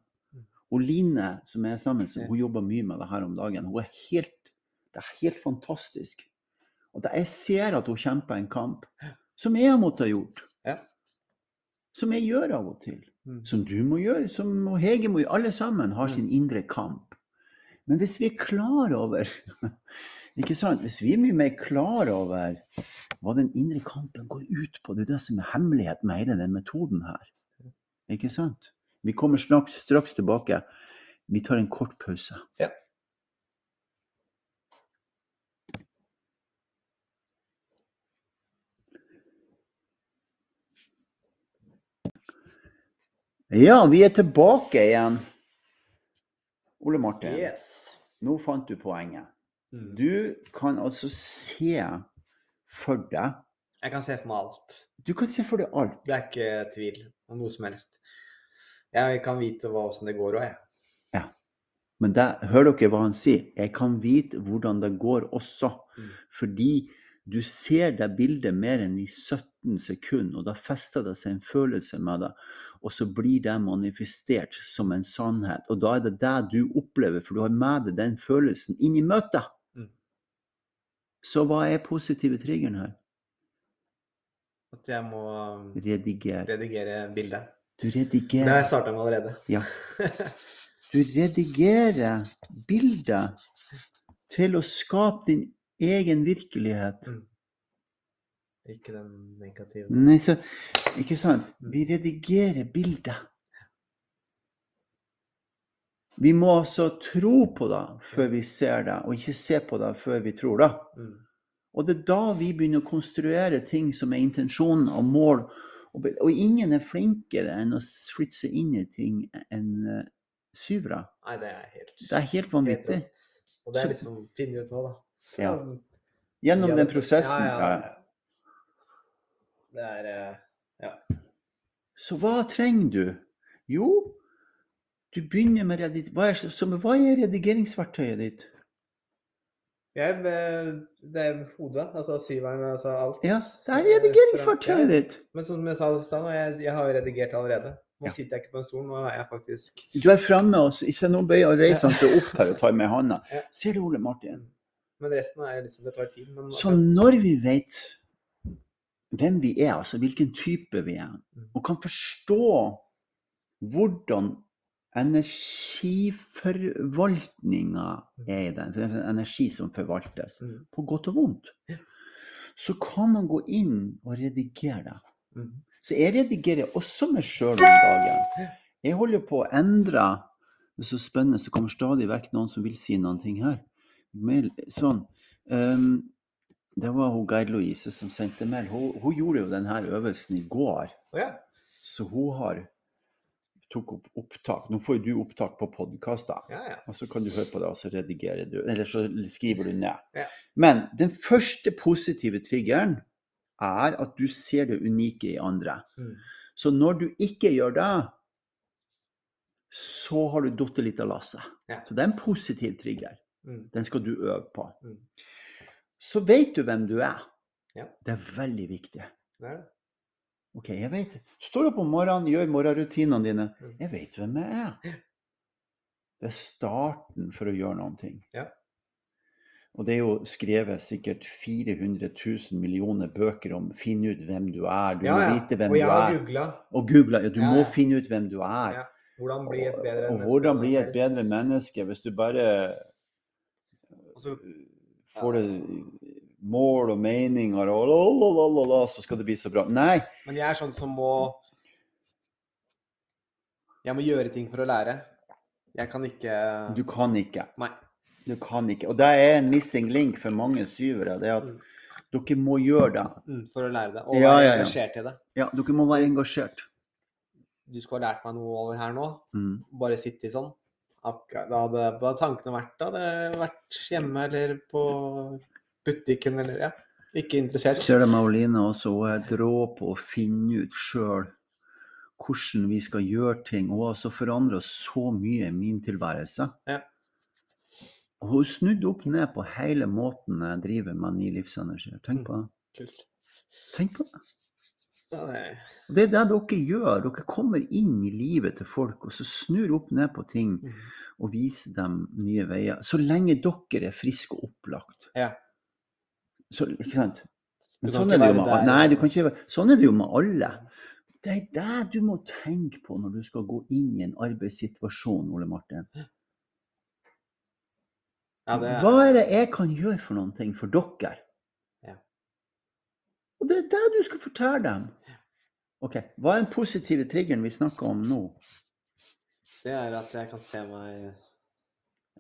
Og Line, som er sammen, som, Mm. Ja. hun jobber mye med det her om dagen. Hun er helt, det er helt fantastisk. Og da jeg ser at hun kjemper en kamp som jeg måtte ha gjort. Ja. Som jeg gjør av og til. Mm. Som du må gjøre, som og Hege må gjøre. Alle sammen har Mm. sin indre kamp. Men hvis vi er klar over Ikke sant? Hvis vi er mye mer klar over hva den indre kampen går ut på, det er jo det som er hemmeligheten med hele den metoden her. Ikke sant? Vi kommer straks, straks tilbake. Vi tar en kort pause. Ja. Ja, vi er tilbake igjen. Ole Martin, Yes. nå fant du poenget. Mm. Du kan altså se for deg Jeg kan se for meg alt. Du kan se for deg alt. Det er ikke tvil om noe som helst. Jeg kan vite hva, hvordan det går òg, jeg. Men der, hører dere hva han sier? Jeg kan vite hvordan det går også. Mm. Fordi du ser det bildet mer enn i 17 sekunder, og da fester det seg en følelse med det. Og så blir det manifestert som en sannhet. Og da er det det du opplever, for du har med deg den følelsen inn i møtet. Mm. Så hva er positive triggeren her? At jeg må um, Rediger. redigere bildet. Du Det har redigerer. jeg starta med allerede. Ja. Du redigerer bildet til å skape din egen virkelighet. ikke den negative. Nei, så, ikke sant? Vi redigerer bildet. Vi må altså tro på det før vi ser det, og ikke se på det før vi tror det. Mm. Og det er da vi begynner å konstruere ting som er intensjonen og mål. Og, be- og ingen er flinkere enn å s- flytte seg inn i ting enn uh, syvere. Nei, det er helt Det er helt helt vanvittig. rått. Og det Så- er liksom finne ut nå, da. Ja. Mm. Gjennom Ja, den det- Ja, prosessen. ja. ja, ja. Det er eh, Så hva trenger du? Jo, du begynner med redi- hva er, så, men hva er redigeringsverktøyet ditt? jeg, eh, Det er hodet, altså syveren, altså alt. Ja, det er Eh, redigeringsverktøyet ja. ditt. Men som jeg sa i stad, nå, jeg, jeg har jo redigert allerede. Nå Ja. sitter jeg ikke på en stol, nå er jeg faktisk Du er framme, og så- ikke nå bøyer og reiser han seg opp her og tar med handa. Ja. Ser du, Ole Martin? Men resten er liksom Det tar tid. Men Så akkurat- når vi vet hvem vi er, altså hvilken type vi er, og kan forstå hvordan energiforvaltninga er i den, for det er sånn energi som forvaltes, Mm. på godt og vondt, så kan man gå inn og redigere det. Mhm. Så jeg redigerer også meg sjøl om dagen. Jeg holder på å endre Det er så spennende, så kommer stadig vekk noen som vil si noen ting her. Mail, sånn. ehm, det var hun Geir Louise som sendte mail. Hun, hun gjorde jo denne øvelsen i går. Å ja. Så hun har tok opp opptak. Nå får jo du opptak på podkaster. Ja, ja. Og så kan du høre på det, og så redigerer du. Eller så skriver du ned. Ja. Men den første positive triggeren er at du ser det unike i andre. Mm. Så når du ikke gjør det, så har du datt litt av lasset. Ja. Så det er en positiv trigger. Mm. Den skal du øve på. Mm. Så vet du hvem du er. Ja. Det er veldig viktig. Det er det. Ok, jeg vet. Står opp om morgenen, gjør morgenrutinene dine. Mm. Jeg vet hvem jeg er. Det er starten for å gjøre noen ting. Ja. Og det er jo skrevet sikkert 400 000 millioner bøker om 'finn ut hvem du er', du Ja, ja. må vite hvem Og du jeg har er. googla Og googla. Ja, du Ja, må ja. finne ut hvem du er. Ja, hvordan bli et bedre og menneske. enn hvordan deg bli et selv. bedre menneske hvis du bare uh, Og så får det mål og meninger og la, la, la, la, la, så skal det bli så bra. Nei. Men jeg er sånn som må Jeg må gjøre ting for å lære. Jeg kan ikke Du kan ikke. Nei. Du kan ikke. Og det er en missing link for mange syvere. Det er at Mm. dere må gjøre det. Mm, For å lære det. Og Ja, være ja, ja. engasjert i det. Ja, dere må være engasjert. Du skulle ha lært meg noe over her nå. Mm. Bare sitte i sånn. Akkurat, da hadde hva hadde tankene vært da? Det hadde vært hjemme eller på butikken eller ja. Ikke interessert. Ser du Maoline også, hun er rå på å finne ut sjøl hvordan vi skal gjøre ting. Hun har altså forandra så mye i min tilværelse. Ja. Og Hun snudde opp ned på hele måten jeg driver med ny livsenergi. Tenk på det. Kult. Tenk på det. Ja, det, Og Det er det dere gjør. Dere kommer inn i livet til folk og så snur opp ned på ting mm. og viser dem nye veier. Så lenge dere er friske og opplagt. Ja. Så, ikke sant? Men Du kan sånn ikke er det jo være der. med, nei, du kan ikke, være- sånn er det jo med alle. Det er det du må tenke på når du skal gå inn i en arbeidssituasjon, Ole Martin. Ja, det Hva er det jeg kan gjøre for noen ting for dere? Ja. Og det er det du skal fortelle dem. Ok, Hva er den positive triggeren vi snakker om nå? det er at jeg kan se meg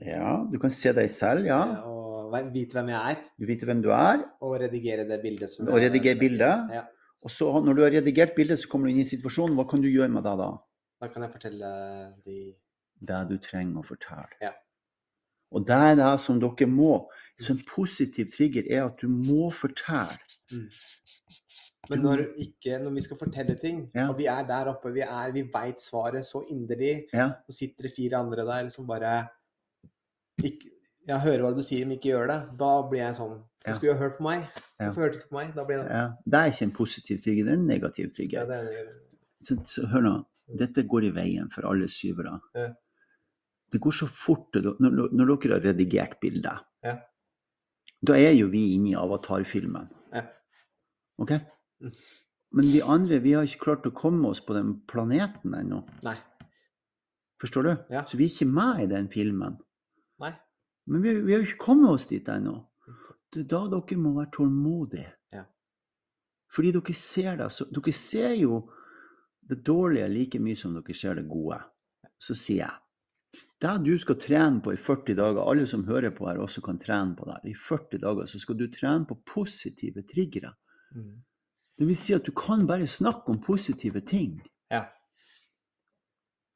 Ja, Du kan se deg selv, eh, ja. og ve- vite hvem jeg er, Du vet hvem du er, og redigere det bildet som og redigere bildet. Ja. Og så har- når du har redigert bildet, så kommer du inn i situasjonen. Hva kan du gjøre med det da? Da kan jeg fortelle de Det du trenger å fortelle. Ja. Og det er det som dere må. Så en positiv trigger er at du må fortelle. Men når, ikke, når vi skal fortelle ting, Ja. og vi er der oppe, vi, er- vi veit svaret så inderlig, Ja. så sitter det fire andre der som bare ikke, Jeg hører hva du sier, men ikke gjør det. Da blir jeg sånn Du Ja. skulle jo hørt på meg. Ja. Hvorfor hørte du ikke på meg? Da blir jeg Ja. Det er ikke en positiv trigger, det er en negativ trigger. ja, det er, så, så hør nå, dette går i veien for alle syvere. Mm. Ja. Det går så fort det- når, når dere har redigert bildet. Ja. Da er jo vi inne i avatarfilmen. Ja. Ok? Mm. Men vi andre vi har ikke klart å komme oss på den planeten ennå. Nei. Forstår du? Ja. Så vi er ikke med i den filmen. Nei. Men vi, vi har jo ikke kommet oss dit ennå. Det er da dere må være tålmodige. Ja. Fordi dere ser det. Så, dere ser jo det dårlige like mye som dere ser det gode. Så sier jeg det du skal trene på i 40 dager, alle som hører på her, også kan trene på det. her, I 40 dager så skal du trene på positive triggere. Mm. Det vil si at du kan bare snakke om positive ting. Ja.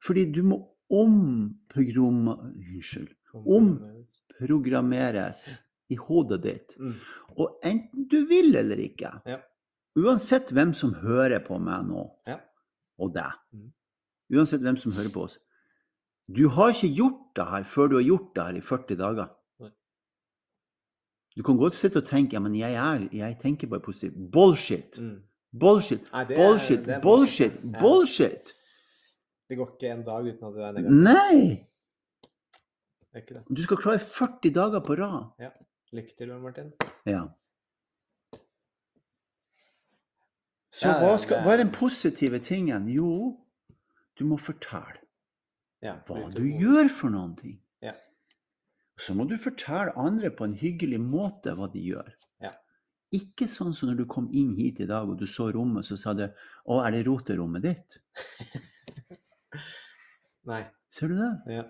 Fordi du må omprogramme Unnskyld. Om- Programmeres i hodet ditt. Mm. Og enten du vil eller ikke, Ja. uansett hvem som hører på meg nå, Ja. og deg, Mhm. uansett hvem som hører på oss, du har ikke gjort det her før du har gjort det her i 40 dager. Nei. Du kan godt sitte og tenke ja, men jeg, er, jeg tenker bare positivt. Bullshit! Mm. Bullshit! Nei, Ah, det er- Bullshit! det er Bullshit! Ja. Bullshit! Det går ikke en dag uten at du er Mm. negativ. Nei! Det er ikke det. Du skal klare 40 dager på rad. Lykke til, Ole Martin. Ja. Så Ja, hva, ja, skal, det hva er er- den positive tingen? Jo, du må fortelle Ja, hva bruke du ord. gjør for noen ting. Ja. Så må du fortelle andre på en hyggelig måte hva de gjør. Ja. Ikke sånn som når du kom inn hit i dag og du så rommet, så sa du 'Å, er det roterommet ditt?' Nei. Ser du det? Ja.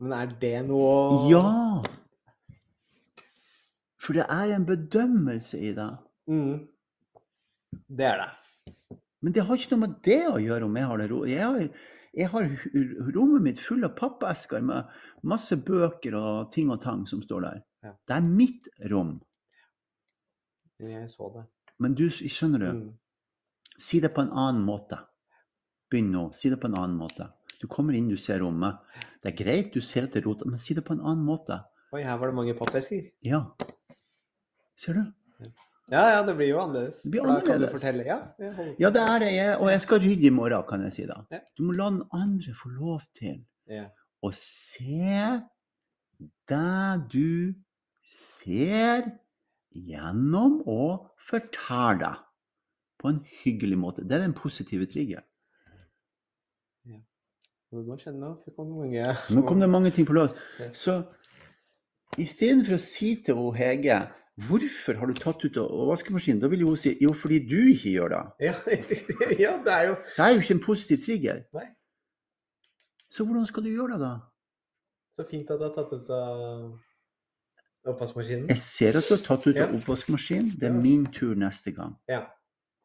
Men er det noe Ja! For det er en bedømmelse i det. Mm. Det er det. Men det har ikke noe med det å gjøre om jeg har det ro... Jeg har, jeg har hu- rommet mitt full av pappesker med masse bøker og ting og tang som står der. Ja. Det er mitt rom. Jeg så det. Men du skjønner du, Mm. si det på en annen måte. Begynn nå, si det på en annen måte. Du kommer inn, du ser rommet. Det er greit, du ser at det er rota, men si det på en annen måte. Oi, her var det mange pappesker. Ja. Ser du? Ja, ja, det blir jo annerledes. Det blir For da kan du annerledes. fortelle. Ja, jeg holder på. Ja, det er det jeg, og jeg skal rydde i morgen, kan jeg si da. Ja. Du må la den andre få lov til Ja. å se det du ser gjennom å fortelle deg på en hyggelig måte. Det er den positive triggeren. Nå nå skjønner jeg hvorfor kom det mange Nå kom det mange ting på lås. Ja. Så istedenfor å si til hun Hege hvorfor har du tatt ut av vaskemaskinen, da vil jo hun si jo, fordi du ikke gjør det. ja, riktig. ja, det er jo Det er jo ikke en positiv trigger. Nei. Så hvordan skal du gjøre det, da? så fint at du har tatt ut av oppvaskmaskinen. Jeg ser at du har tatt ut av Ja. oppvaskmaskinen. Det er Ja. min tur neste gang. Ja.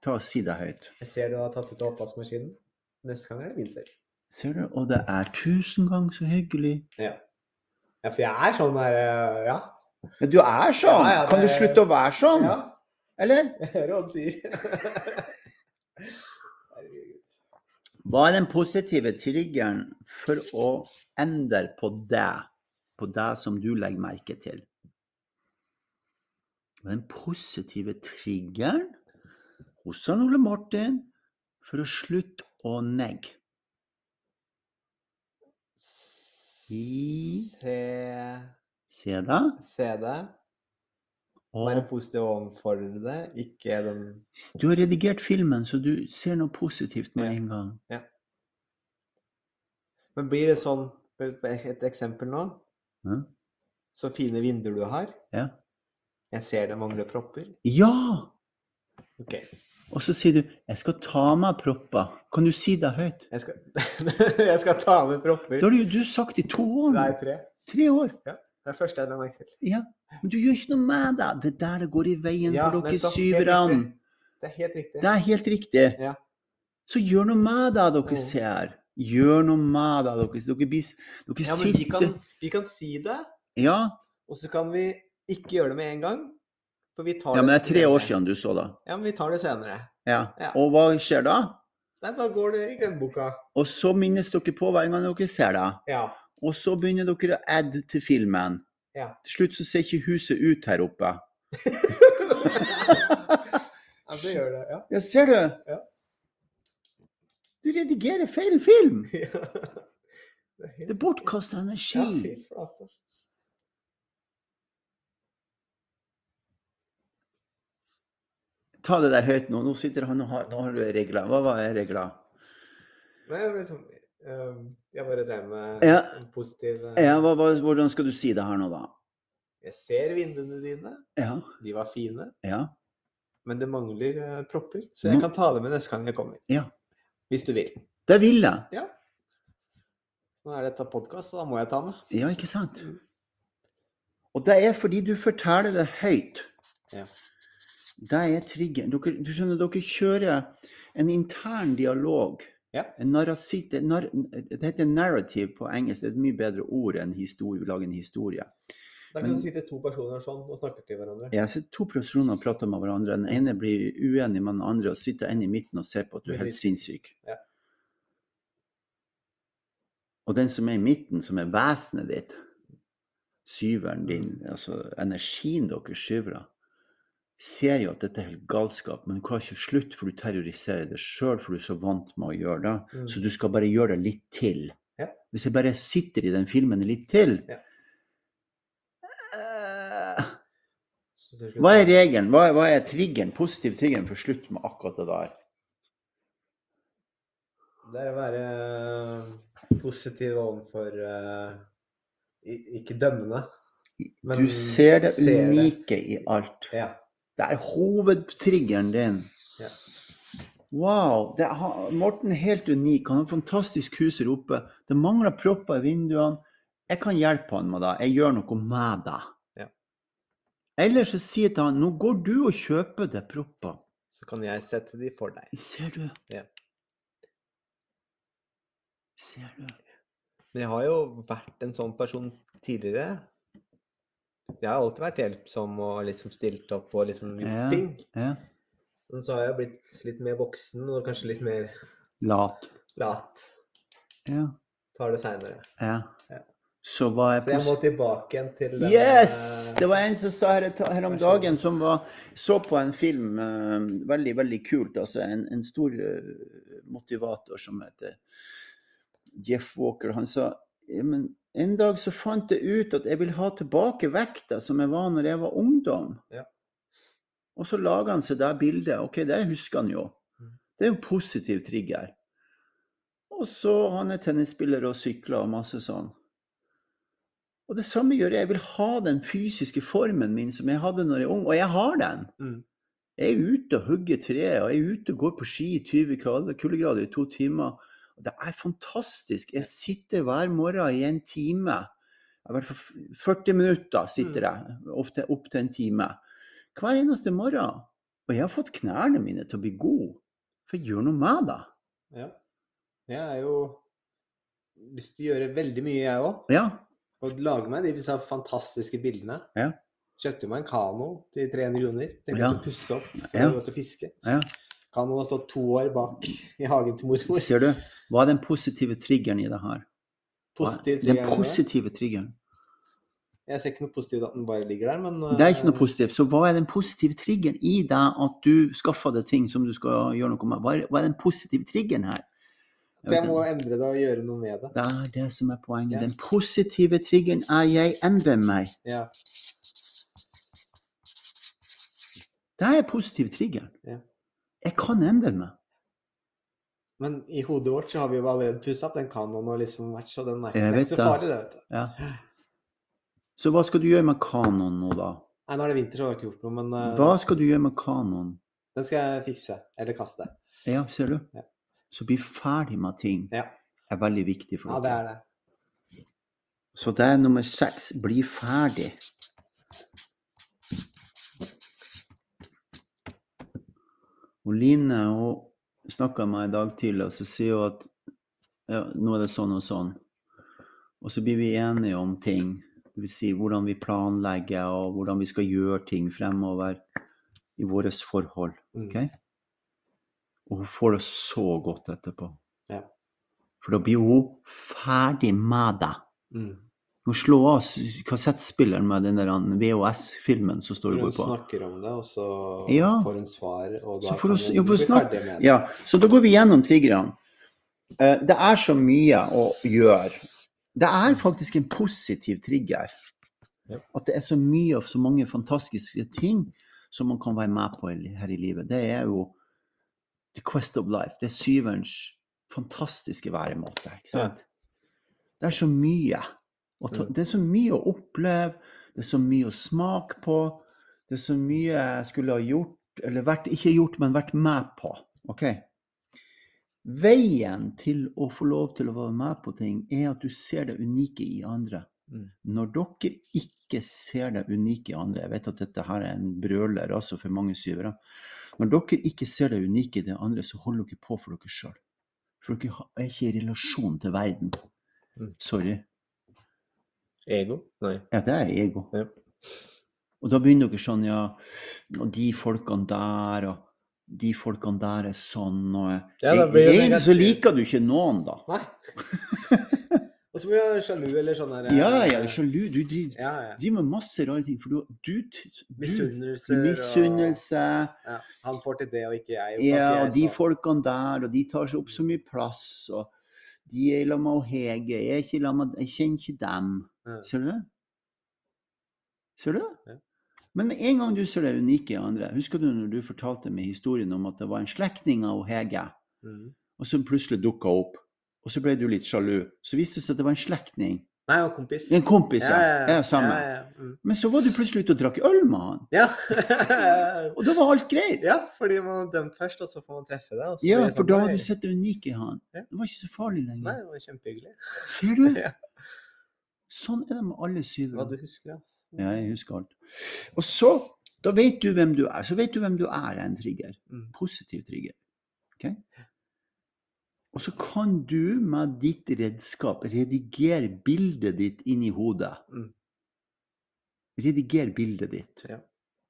Ta og Si det høyt. Jeg ser du har tatt ut av oppvaskmaskinen. Neste gang er det vinter. Ser du? Og det er tusen ganger så hyggelig. Ja, for jeg er sånn der eh, Ja. Ja, du er sånn! Ja, ja, det- Kan du slutte å være sånn? ja Eller? jeg hører hva du sier. Herregud. Hva er den positive triggeren for å endre på det, på det som du legger merke til? Hva er Den positive triggeren hos han Ole Martin for å slutte å negge. I Se Se det. Se det. Være Og positiv overfor det, ikke den du har redigert filmen, så du ser noe positivt med Ja. en gang. Men blir det sånn for Et et eksempel nå. Ja. Så fine vinduer du har. Ja. Jeg ser det mangler propper. Ja! Ok. Og så sier du 'jeg skal ta av meg propper'. Kan du si det høyt? Jeg skal, jeg skal ta med Det propper. har du jo du sagt i to år nå. Nei, tre. Tre år. Det er første jeg la merke til. Ja. Men du gjør ikke noe med det. Det der det går i veien Ja, for dere nettopp. Helt syverne. riktig. Det er helt riktig. Det er helt riktig. Ja. Så gjør noe med det dere Mm. ser. Gjør noe med det dere ser. Dere, blir, dere Ja, men sitter vi kan, vi kan si det, ja. og så kan vi ikke gjøre det med en gang. For vi tar ja, men det er tre år senere. siden du så det. Ja, men vi tar det senere. Ja. Ja. Og hva skjer da? Nei, da går det i glemmeboka. Og så minnes dere på hver gang dere ser det. Ja. Og så begynner dere å adde til filmen. Ja. Til slutt så ser ikke huset ut her oppe. ja, det gjør det. Ja. Ja, ser du? Ja. Du redigerer feil film! Det er helt- Det er bortkasta Ja, energi. fy flate. Ta det der høyt nå. Nå sitter han og har, nå har du regler. Hva var regler? Nei, det var liksom ehm, Jeg bare drev med Ja. en positiv eh, Ja, hva, hva, hvordan skal du si det her nå, da? Jeg ser vinduene dine, Ja. de var fine, Ja. men det mangler eh, propper. Så jeg Mm. kan ta det med neste gang jeg kommer. Ja. Hvis du vil. Det vil jeg. Nå er dette podkast, så da må jeg ta med. Ja, ikke sant? Mm. Og det er fordi du forteller det høyt. Ja. Det er triggeren. Dere, du skjønner, dere kjører en intern dialog. Ja. En narrasit, det- nar, det heter narrative på engelsk. Det er et mye bedre ord enn historie, lage en historie. Da kan Men- du sitte to personer sånn og snakke til hverandre. Jeg har sett to personer prate med hverandre. Den ene blir uenig med den andre og sitter en i midten og ser på at du er helt sinnssyk. Ja. Og den som er i midten, som er vesenet ditt, syveren din, Mm. altså energien deres syvere, ser jo at dette er helt galskap, men du klarer ikke å slutte, for du terroriserer deg sjøl, for du er så vant med å gjøre det. Mm. Så du skal bare gjøre det litt til. Ja. Hvis jeg bare sitter i den filmen litt til Ja. Eh, Så til slutt- hva er regelen? Hva, hva er triggeren? Positiv triggeren for slutt med akkurat det der. Det er å være eh, positiv overfor eh, i- Ikke dømmende. Men du ser det ser det. unike i alt. Ja. Det er hovedtriggeren din. Ja. Wow. Det er, han- Morten er helt unik. Han har et fantastisk hus her oppe. Det mangler propper i vinduene. Jeg kan hjelpe han med det. Jeg gjør noe med det. Ja. Eller så sier jeg til han nå går du og kjøper deg propper. Så kan jeg sette de for deg. Ser du? Ja. Ser du? Men jeg har jo vært en sånn person tidligere. Jeg har alltid vært hjelpsom og liksom stilt opp og liksom gjort Ja. ting. Ja. Men så har jeg blitt litt mer voksen og kanskje litt mer Lat. lat. Ja. Tar det seinere. Ja. Ja. Så hva er Så jeg må posi- tilbake igjen til den, Yes! eh, Det var en som sa her, et- her om Vær så god. dagen, som var, så på en film eh, Veldig, veldig kult. Altså en, en stor eh, motivator som heter Jeff Walker. Han sa «Ja, men en dag så fant jeg ut at jeg vil ha tilbake vekta som jeg var når jeg var ungdom. Ja. Og så laga han seg det bildet. Ok, det husker han jo. Mm. Det er jo en positiv trigger. Og så han er tennisspiller og sykler og masse sånn. Og det samme gjør jeg. Jeg vil ha den fysiske formen min som jeg hadde når jeg var ung, og jeg har den. Mm. Jeg er ute og hugger tre, og jeg er ute og går på ski i 20 grader- kuldegrader i to timer. Og det er fantastisk. Jeg sitter hver morgen i en time. I hvert fall f- 40 minutter sitter jeg, ofte opp til en time. Hver eneste morgen. Og jeg har fått knærne mine til å bli gode. For jeg gjør noe med det. Ja. Jeg har jo lyst til å gjøre veldig mye, jeg òg. Ja, Og lage meg de disse fantastiske bildene. Ja. Kjøpte meg en kano til 300 kroner. Tenkte Ja. jeg skulle pusse opp før Ja. jeg går til fiske. ja. Kanoen har stått to år bak i hagen til mormor. Ser du? Hva er den positive triggeren i det her? Hva er Positivt. den positive triggeren. Jeg ser ikke noe positivt at den bare ligger der, men Det er ikke noe eh, positivt. Så hva er den positive triggeren i deg at du skaffer deg ting som du skal gjøre noe med? Hva er, hva er den positive triggeren her? at Jeg må endre det og gjøre noe med det. Det er det som er poenget. Ja. Den positive triggeren er 'jeg endrer meg'. Ja. Det er positiv trigger. Ja. Jeg kan endre meg. Men i hodet vårt så har vi jo allerede pussa opp den kanoen og liksom vært så den er Jeg ikke den er vet ikke så det. farlig, det, vet du. Ja. Så hva skal du gjøre med kanoen nå, da? Nei, nå er det vinter, så har jeg ikke gjort noe, men eh, Hva skal du gjøre med kanoen? den skal jeg fikse. Eller kaste. Ja, ser du? Ja. Så bli ferdig med ting Ja. er veldig viktig for Ja, det er det. Så det er nummer seks. Bli ferdig. Og Line hun snakka med meg i dag tidlig, og så sier hun at ja, nå er det sånn og sånn. Og så blir vi enige om ting. Det vil si hvordan vi planlegger, og hvordan vi skal gjøre ting fremover i vårt forhold. Mm. Ok? Og hun får det så godt etterpå. Ja. For da blir hun ferdig med deg. Mm. Må slå av s- kassettspilleren med den der VHS-filmen som står og Hun går på. snakker om det, og så Ja. får hun svar, og Så da får kan hun s- ja, hun for hun bli snakker- ferdig med det. Ja, så da går vi gjennom triggerne. Eh, Det er så mye å gjøre. Det er faktisk en positiv trigger. Ja. At det er så mye og så mange fantastiske ting som man kan være med på i- her i livet. Det er jo the quest of life. Det er syverens fantastiske væremåte. Ikke sant? Det er så mye. å ta, Mm. det er så mye å oppleve. Det er så mye å smake på. Det er så mye jeg skulle ha gjort, eller vært, ikke gjort, men vært med på. Ok? Veien til å få lov til å være med på ting, er at du ser det unike i andre. Mm. Når dere ikke ser det unike i andre Jeg vet at dette her er en brøler altså for mange syvere. Når dere ikke ser det unike i det andre, så holder dere på for dere sjøl. For dere har- er ikke i relasjon til verden. Mm. Sorry. Ego? Nei. Ja, det er ego. Ja. Og da begynner dere sånn, ja Og de folkene der, og de folkene der er sånn, og Ja, da blir det Egentlig så negativt. liker du ikke noen, da. Nei. og så blir jeg sjalu, eller sånn der eh, Ja, ja, sjalu. Du driver Ja, ja. driver med masse rare ting, for du, du, t- du Misunnelser og- Misunnelse. Ja, han får til det, og ikke jeg. og Ja, kan og ikke de jeg, så- folkene der, og de tar seg opp så mye plass, og de er i lag med Hege, jeg er ikke i lag med Jeg kjenner ikke dem. Ja. Ser du det? Ser du det? Ja. Men med en gang du ser det unike i andre Husker du når du fortalte meg historien om at det var en slektning av Hege, Mm. og som plutselig dukka opp? Og så ble du litt sjalu. Så viste det seg at det var en slektning. Nei, og kompis. En kompis, ja. ja, ja, samme. Ja, ja. Mm. Men så var du plutselig ute og drakk øl med han. ja. Og da var alt greit. ja, fordi man er dømt først, og så får man treffe deg. og så Ja, blir det for sånn, da hadde «Oi, du sett det unike i han. Ja. Det var ikke så farlig Nei, lenger. det var kjempehyggelig. Ser du? Ja. Sånn er det med alle syv. Hva du husker, ass. Ja, jeg husker alt. Og så, da vet du hvem du er. Så vet du hvem du er, er en trigger. Mm. Positiv trigger. Ok? Og så kan du med ditt redskap redigere bildet ditt inn i hodet. Mm. Rediger bildet ditt. Ja.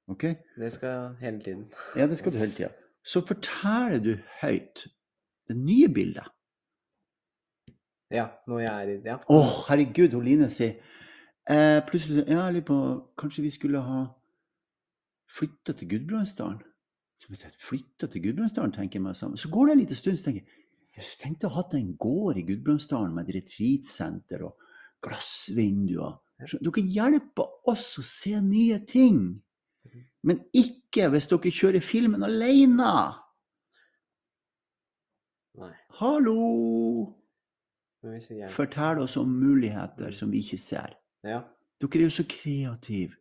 Ok? Det skal hele tiden. Ja, det skal du hele tida. Så forteller du høyt det nye bildet. Ja, når jeg er i det. Ja. Å, herregud, hun Line sier eh, Plutselig så- Ja, jeg lurer på Kanskje vi skulle ha flytta til Gudbrandsdalen? Så vet jeg, Flytta til Gudbrandsdalen, tenker jeg meg sammen. Så går det en liten stund, så tenker jeg Jøss, tenk deg å ha hatt en gård i Gudbrandsdalen med et retreatsenter og glassvinduer. Så Dere hjelper oss å se nye ting. Men ikke hvis dere kjører filmen alene. Nei. Hallo! Men hvis jeg Fortell oss om muligheter som vi ikke ser. Ja. Dere er jo så kreative.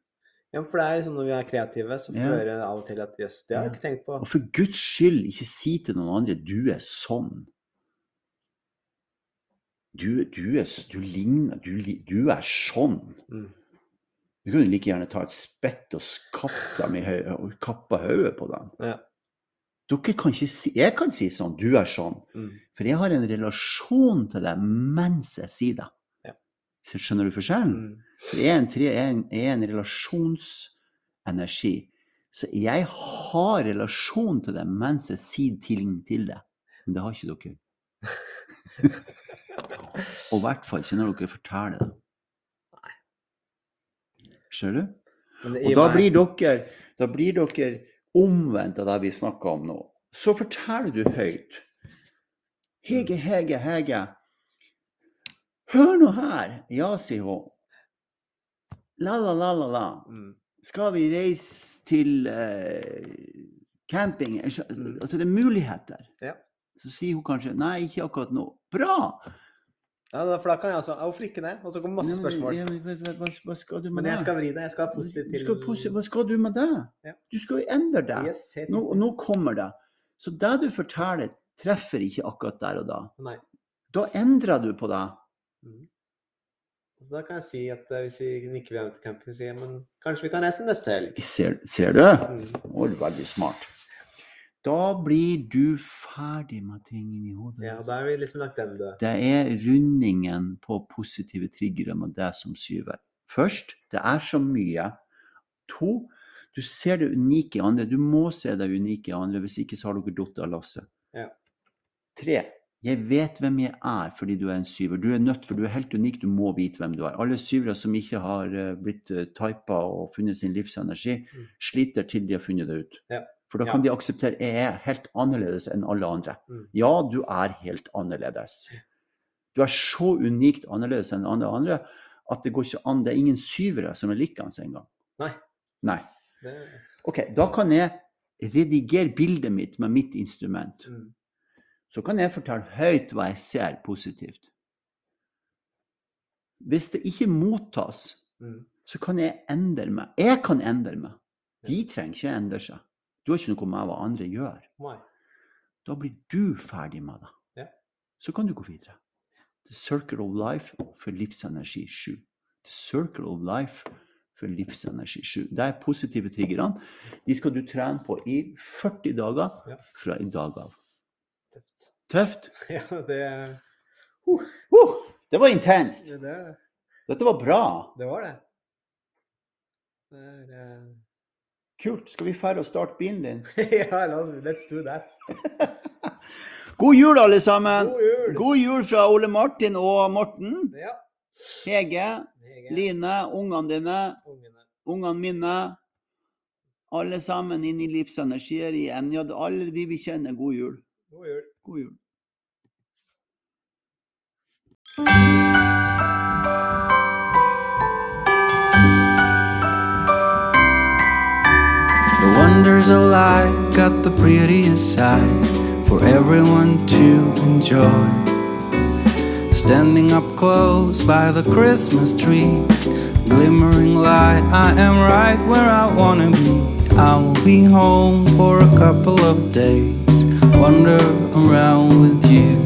ja, for det er liksom når vi er kreative, så får vi Ja. høre av og til at jøss, det har jeg ikke tenkt på. Og for Guds skyld, ikke si til noen andre du er sånn. Du, du, er, s- du ligner du, li- du er sånn. Mm. Du kunne like gjerne ta et spett og s- kappe dem i høy- og kappe hodet på dem. Ja. Dere kan ikke si Jeg kan si sånn. Du er sånn. Mm. For jeg har en relasjon til deg mens jeg sier det. Ja. Så Skjønner du forskjellen? Mm. For jeg er en, tre, jeg er en, jeg er en relasjonsenergi. Så jeg har relasjon til det mens jeg sier ting til det. Men det har ikke dere. Og i hvert fall ikke når dere forteller det. Ser du? Men i Og da meg- blir dere, da blir dere omvendt av det vi snakker om nå. Så forteller du høyt. Hege, Hege, Hege. Hør nå her. Ja, sier hun. La, la, la, la, la. mm. Skal vi reise til eh, camping? Jeg skjø- Mm. Altså, det er muligheter. Ja. Så sier hun kanskje nei, ikke akkurat nå. Bra! Ja, da- for da kan jeg altså Hvorfor ikke det? Og så kommer masse spørsmål. Ja, men, hva, hva, hva skal du med Men jeg det? skal vri det. Jeg skal være positiv Du til skal posi- Hva skal du med det? Ja. Du skal jo endre deg. Yes, helt Nå, riktig. nå kommer det. Så det du forteller, treffer ikke akkurat der og da. Nei. Da endrer du på det. Så da kan jeg si at eh, hvis vi ikke vil være med til camping, så sier jeg men kanskje vi kan reise neste helg. Ser, ser du? Mm. Å, du er veldig smart. Da blir du ferdig med ting inni hodet. Ja, og da har vi liksom lagt den død. Det er rundingen på positive triggere med det som syver. Først, det er så mye. To, du ser det unike i andre. Du må se det unike i andre, hvis ikke så har dere datt av lasset. Ja. Tre, jeg vet hvem jeg er fordi du er en syver. Du er nødt, for du er helt unik, du må vite hvem du er. Alle syvere som ikke har eh, blitt eh, typa og funnet sin livsenergi, Mm. sliter til de har funnet det ut. Ja. For da kan de akseptere jeg er helt annerledes enn alle andre. Mm. Ja, du er helt annerledes. Du er så unikt annerledes enn alle andre at det går ikke an. Det er ingen syvere som er likende engang. Nei. Nei. Det, OK, da kan jeg redigere bildet mitt med mitt instrument. mm. Så kan jeg fortelle høyt hva jeg ser positivt. Hvis det ikke mottas, Mm. så kan jeg endre meg. Jeg kan endre meg. De trenger ikke endre seg. Du har ikke noe med hva andre gjør. Nei. Da blir du ferdig med det. Ja. Så kan du gå videre. The Circle of Life for livsenergi 7. The Circle of Life for livsenergi 7. Det er positive triggerne. De skal du trene på i 40 Ja. dager fra i dag av. Tøft. Tøft? Ja, det, Uh, det var intenst! det, det, Dette var bra. det var det. Det er, eh, Kult. Skal vi fære og starte bilen din? ja, la oss, let's do that. God jul, alle sammen! God jul! God jul fra Ole Martin og Morten. Ja. Hege, Hege, Line, ungene dine. ungene. ungene mine, alle sammen inn i livsenergier i Enja. Alle vi vi kjenner. God jul. God jul. God jul. The wonders of life got the prettiest side for everyone to enjoy. Standing up close by the Christmas tree, glimmering light, I am right where I wanna be. I will be home for a couple of days, wander around with you.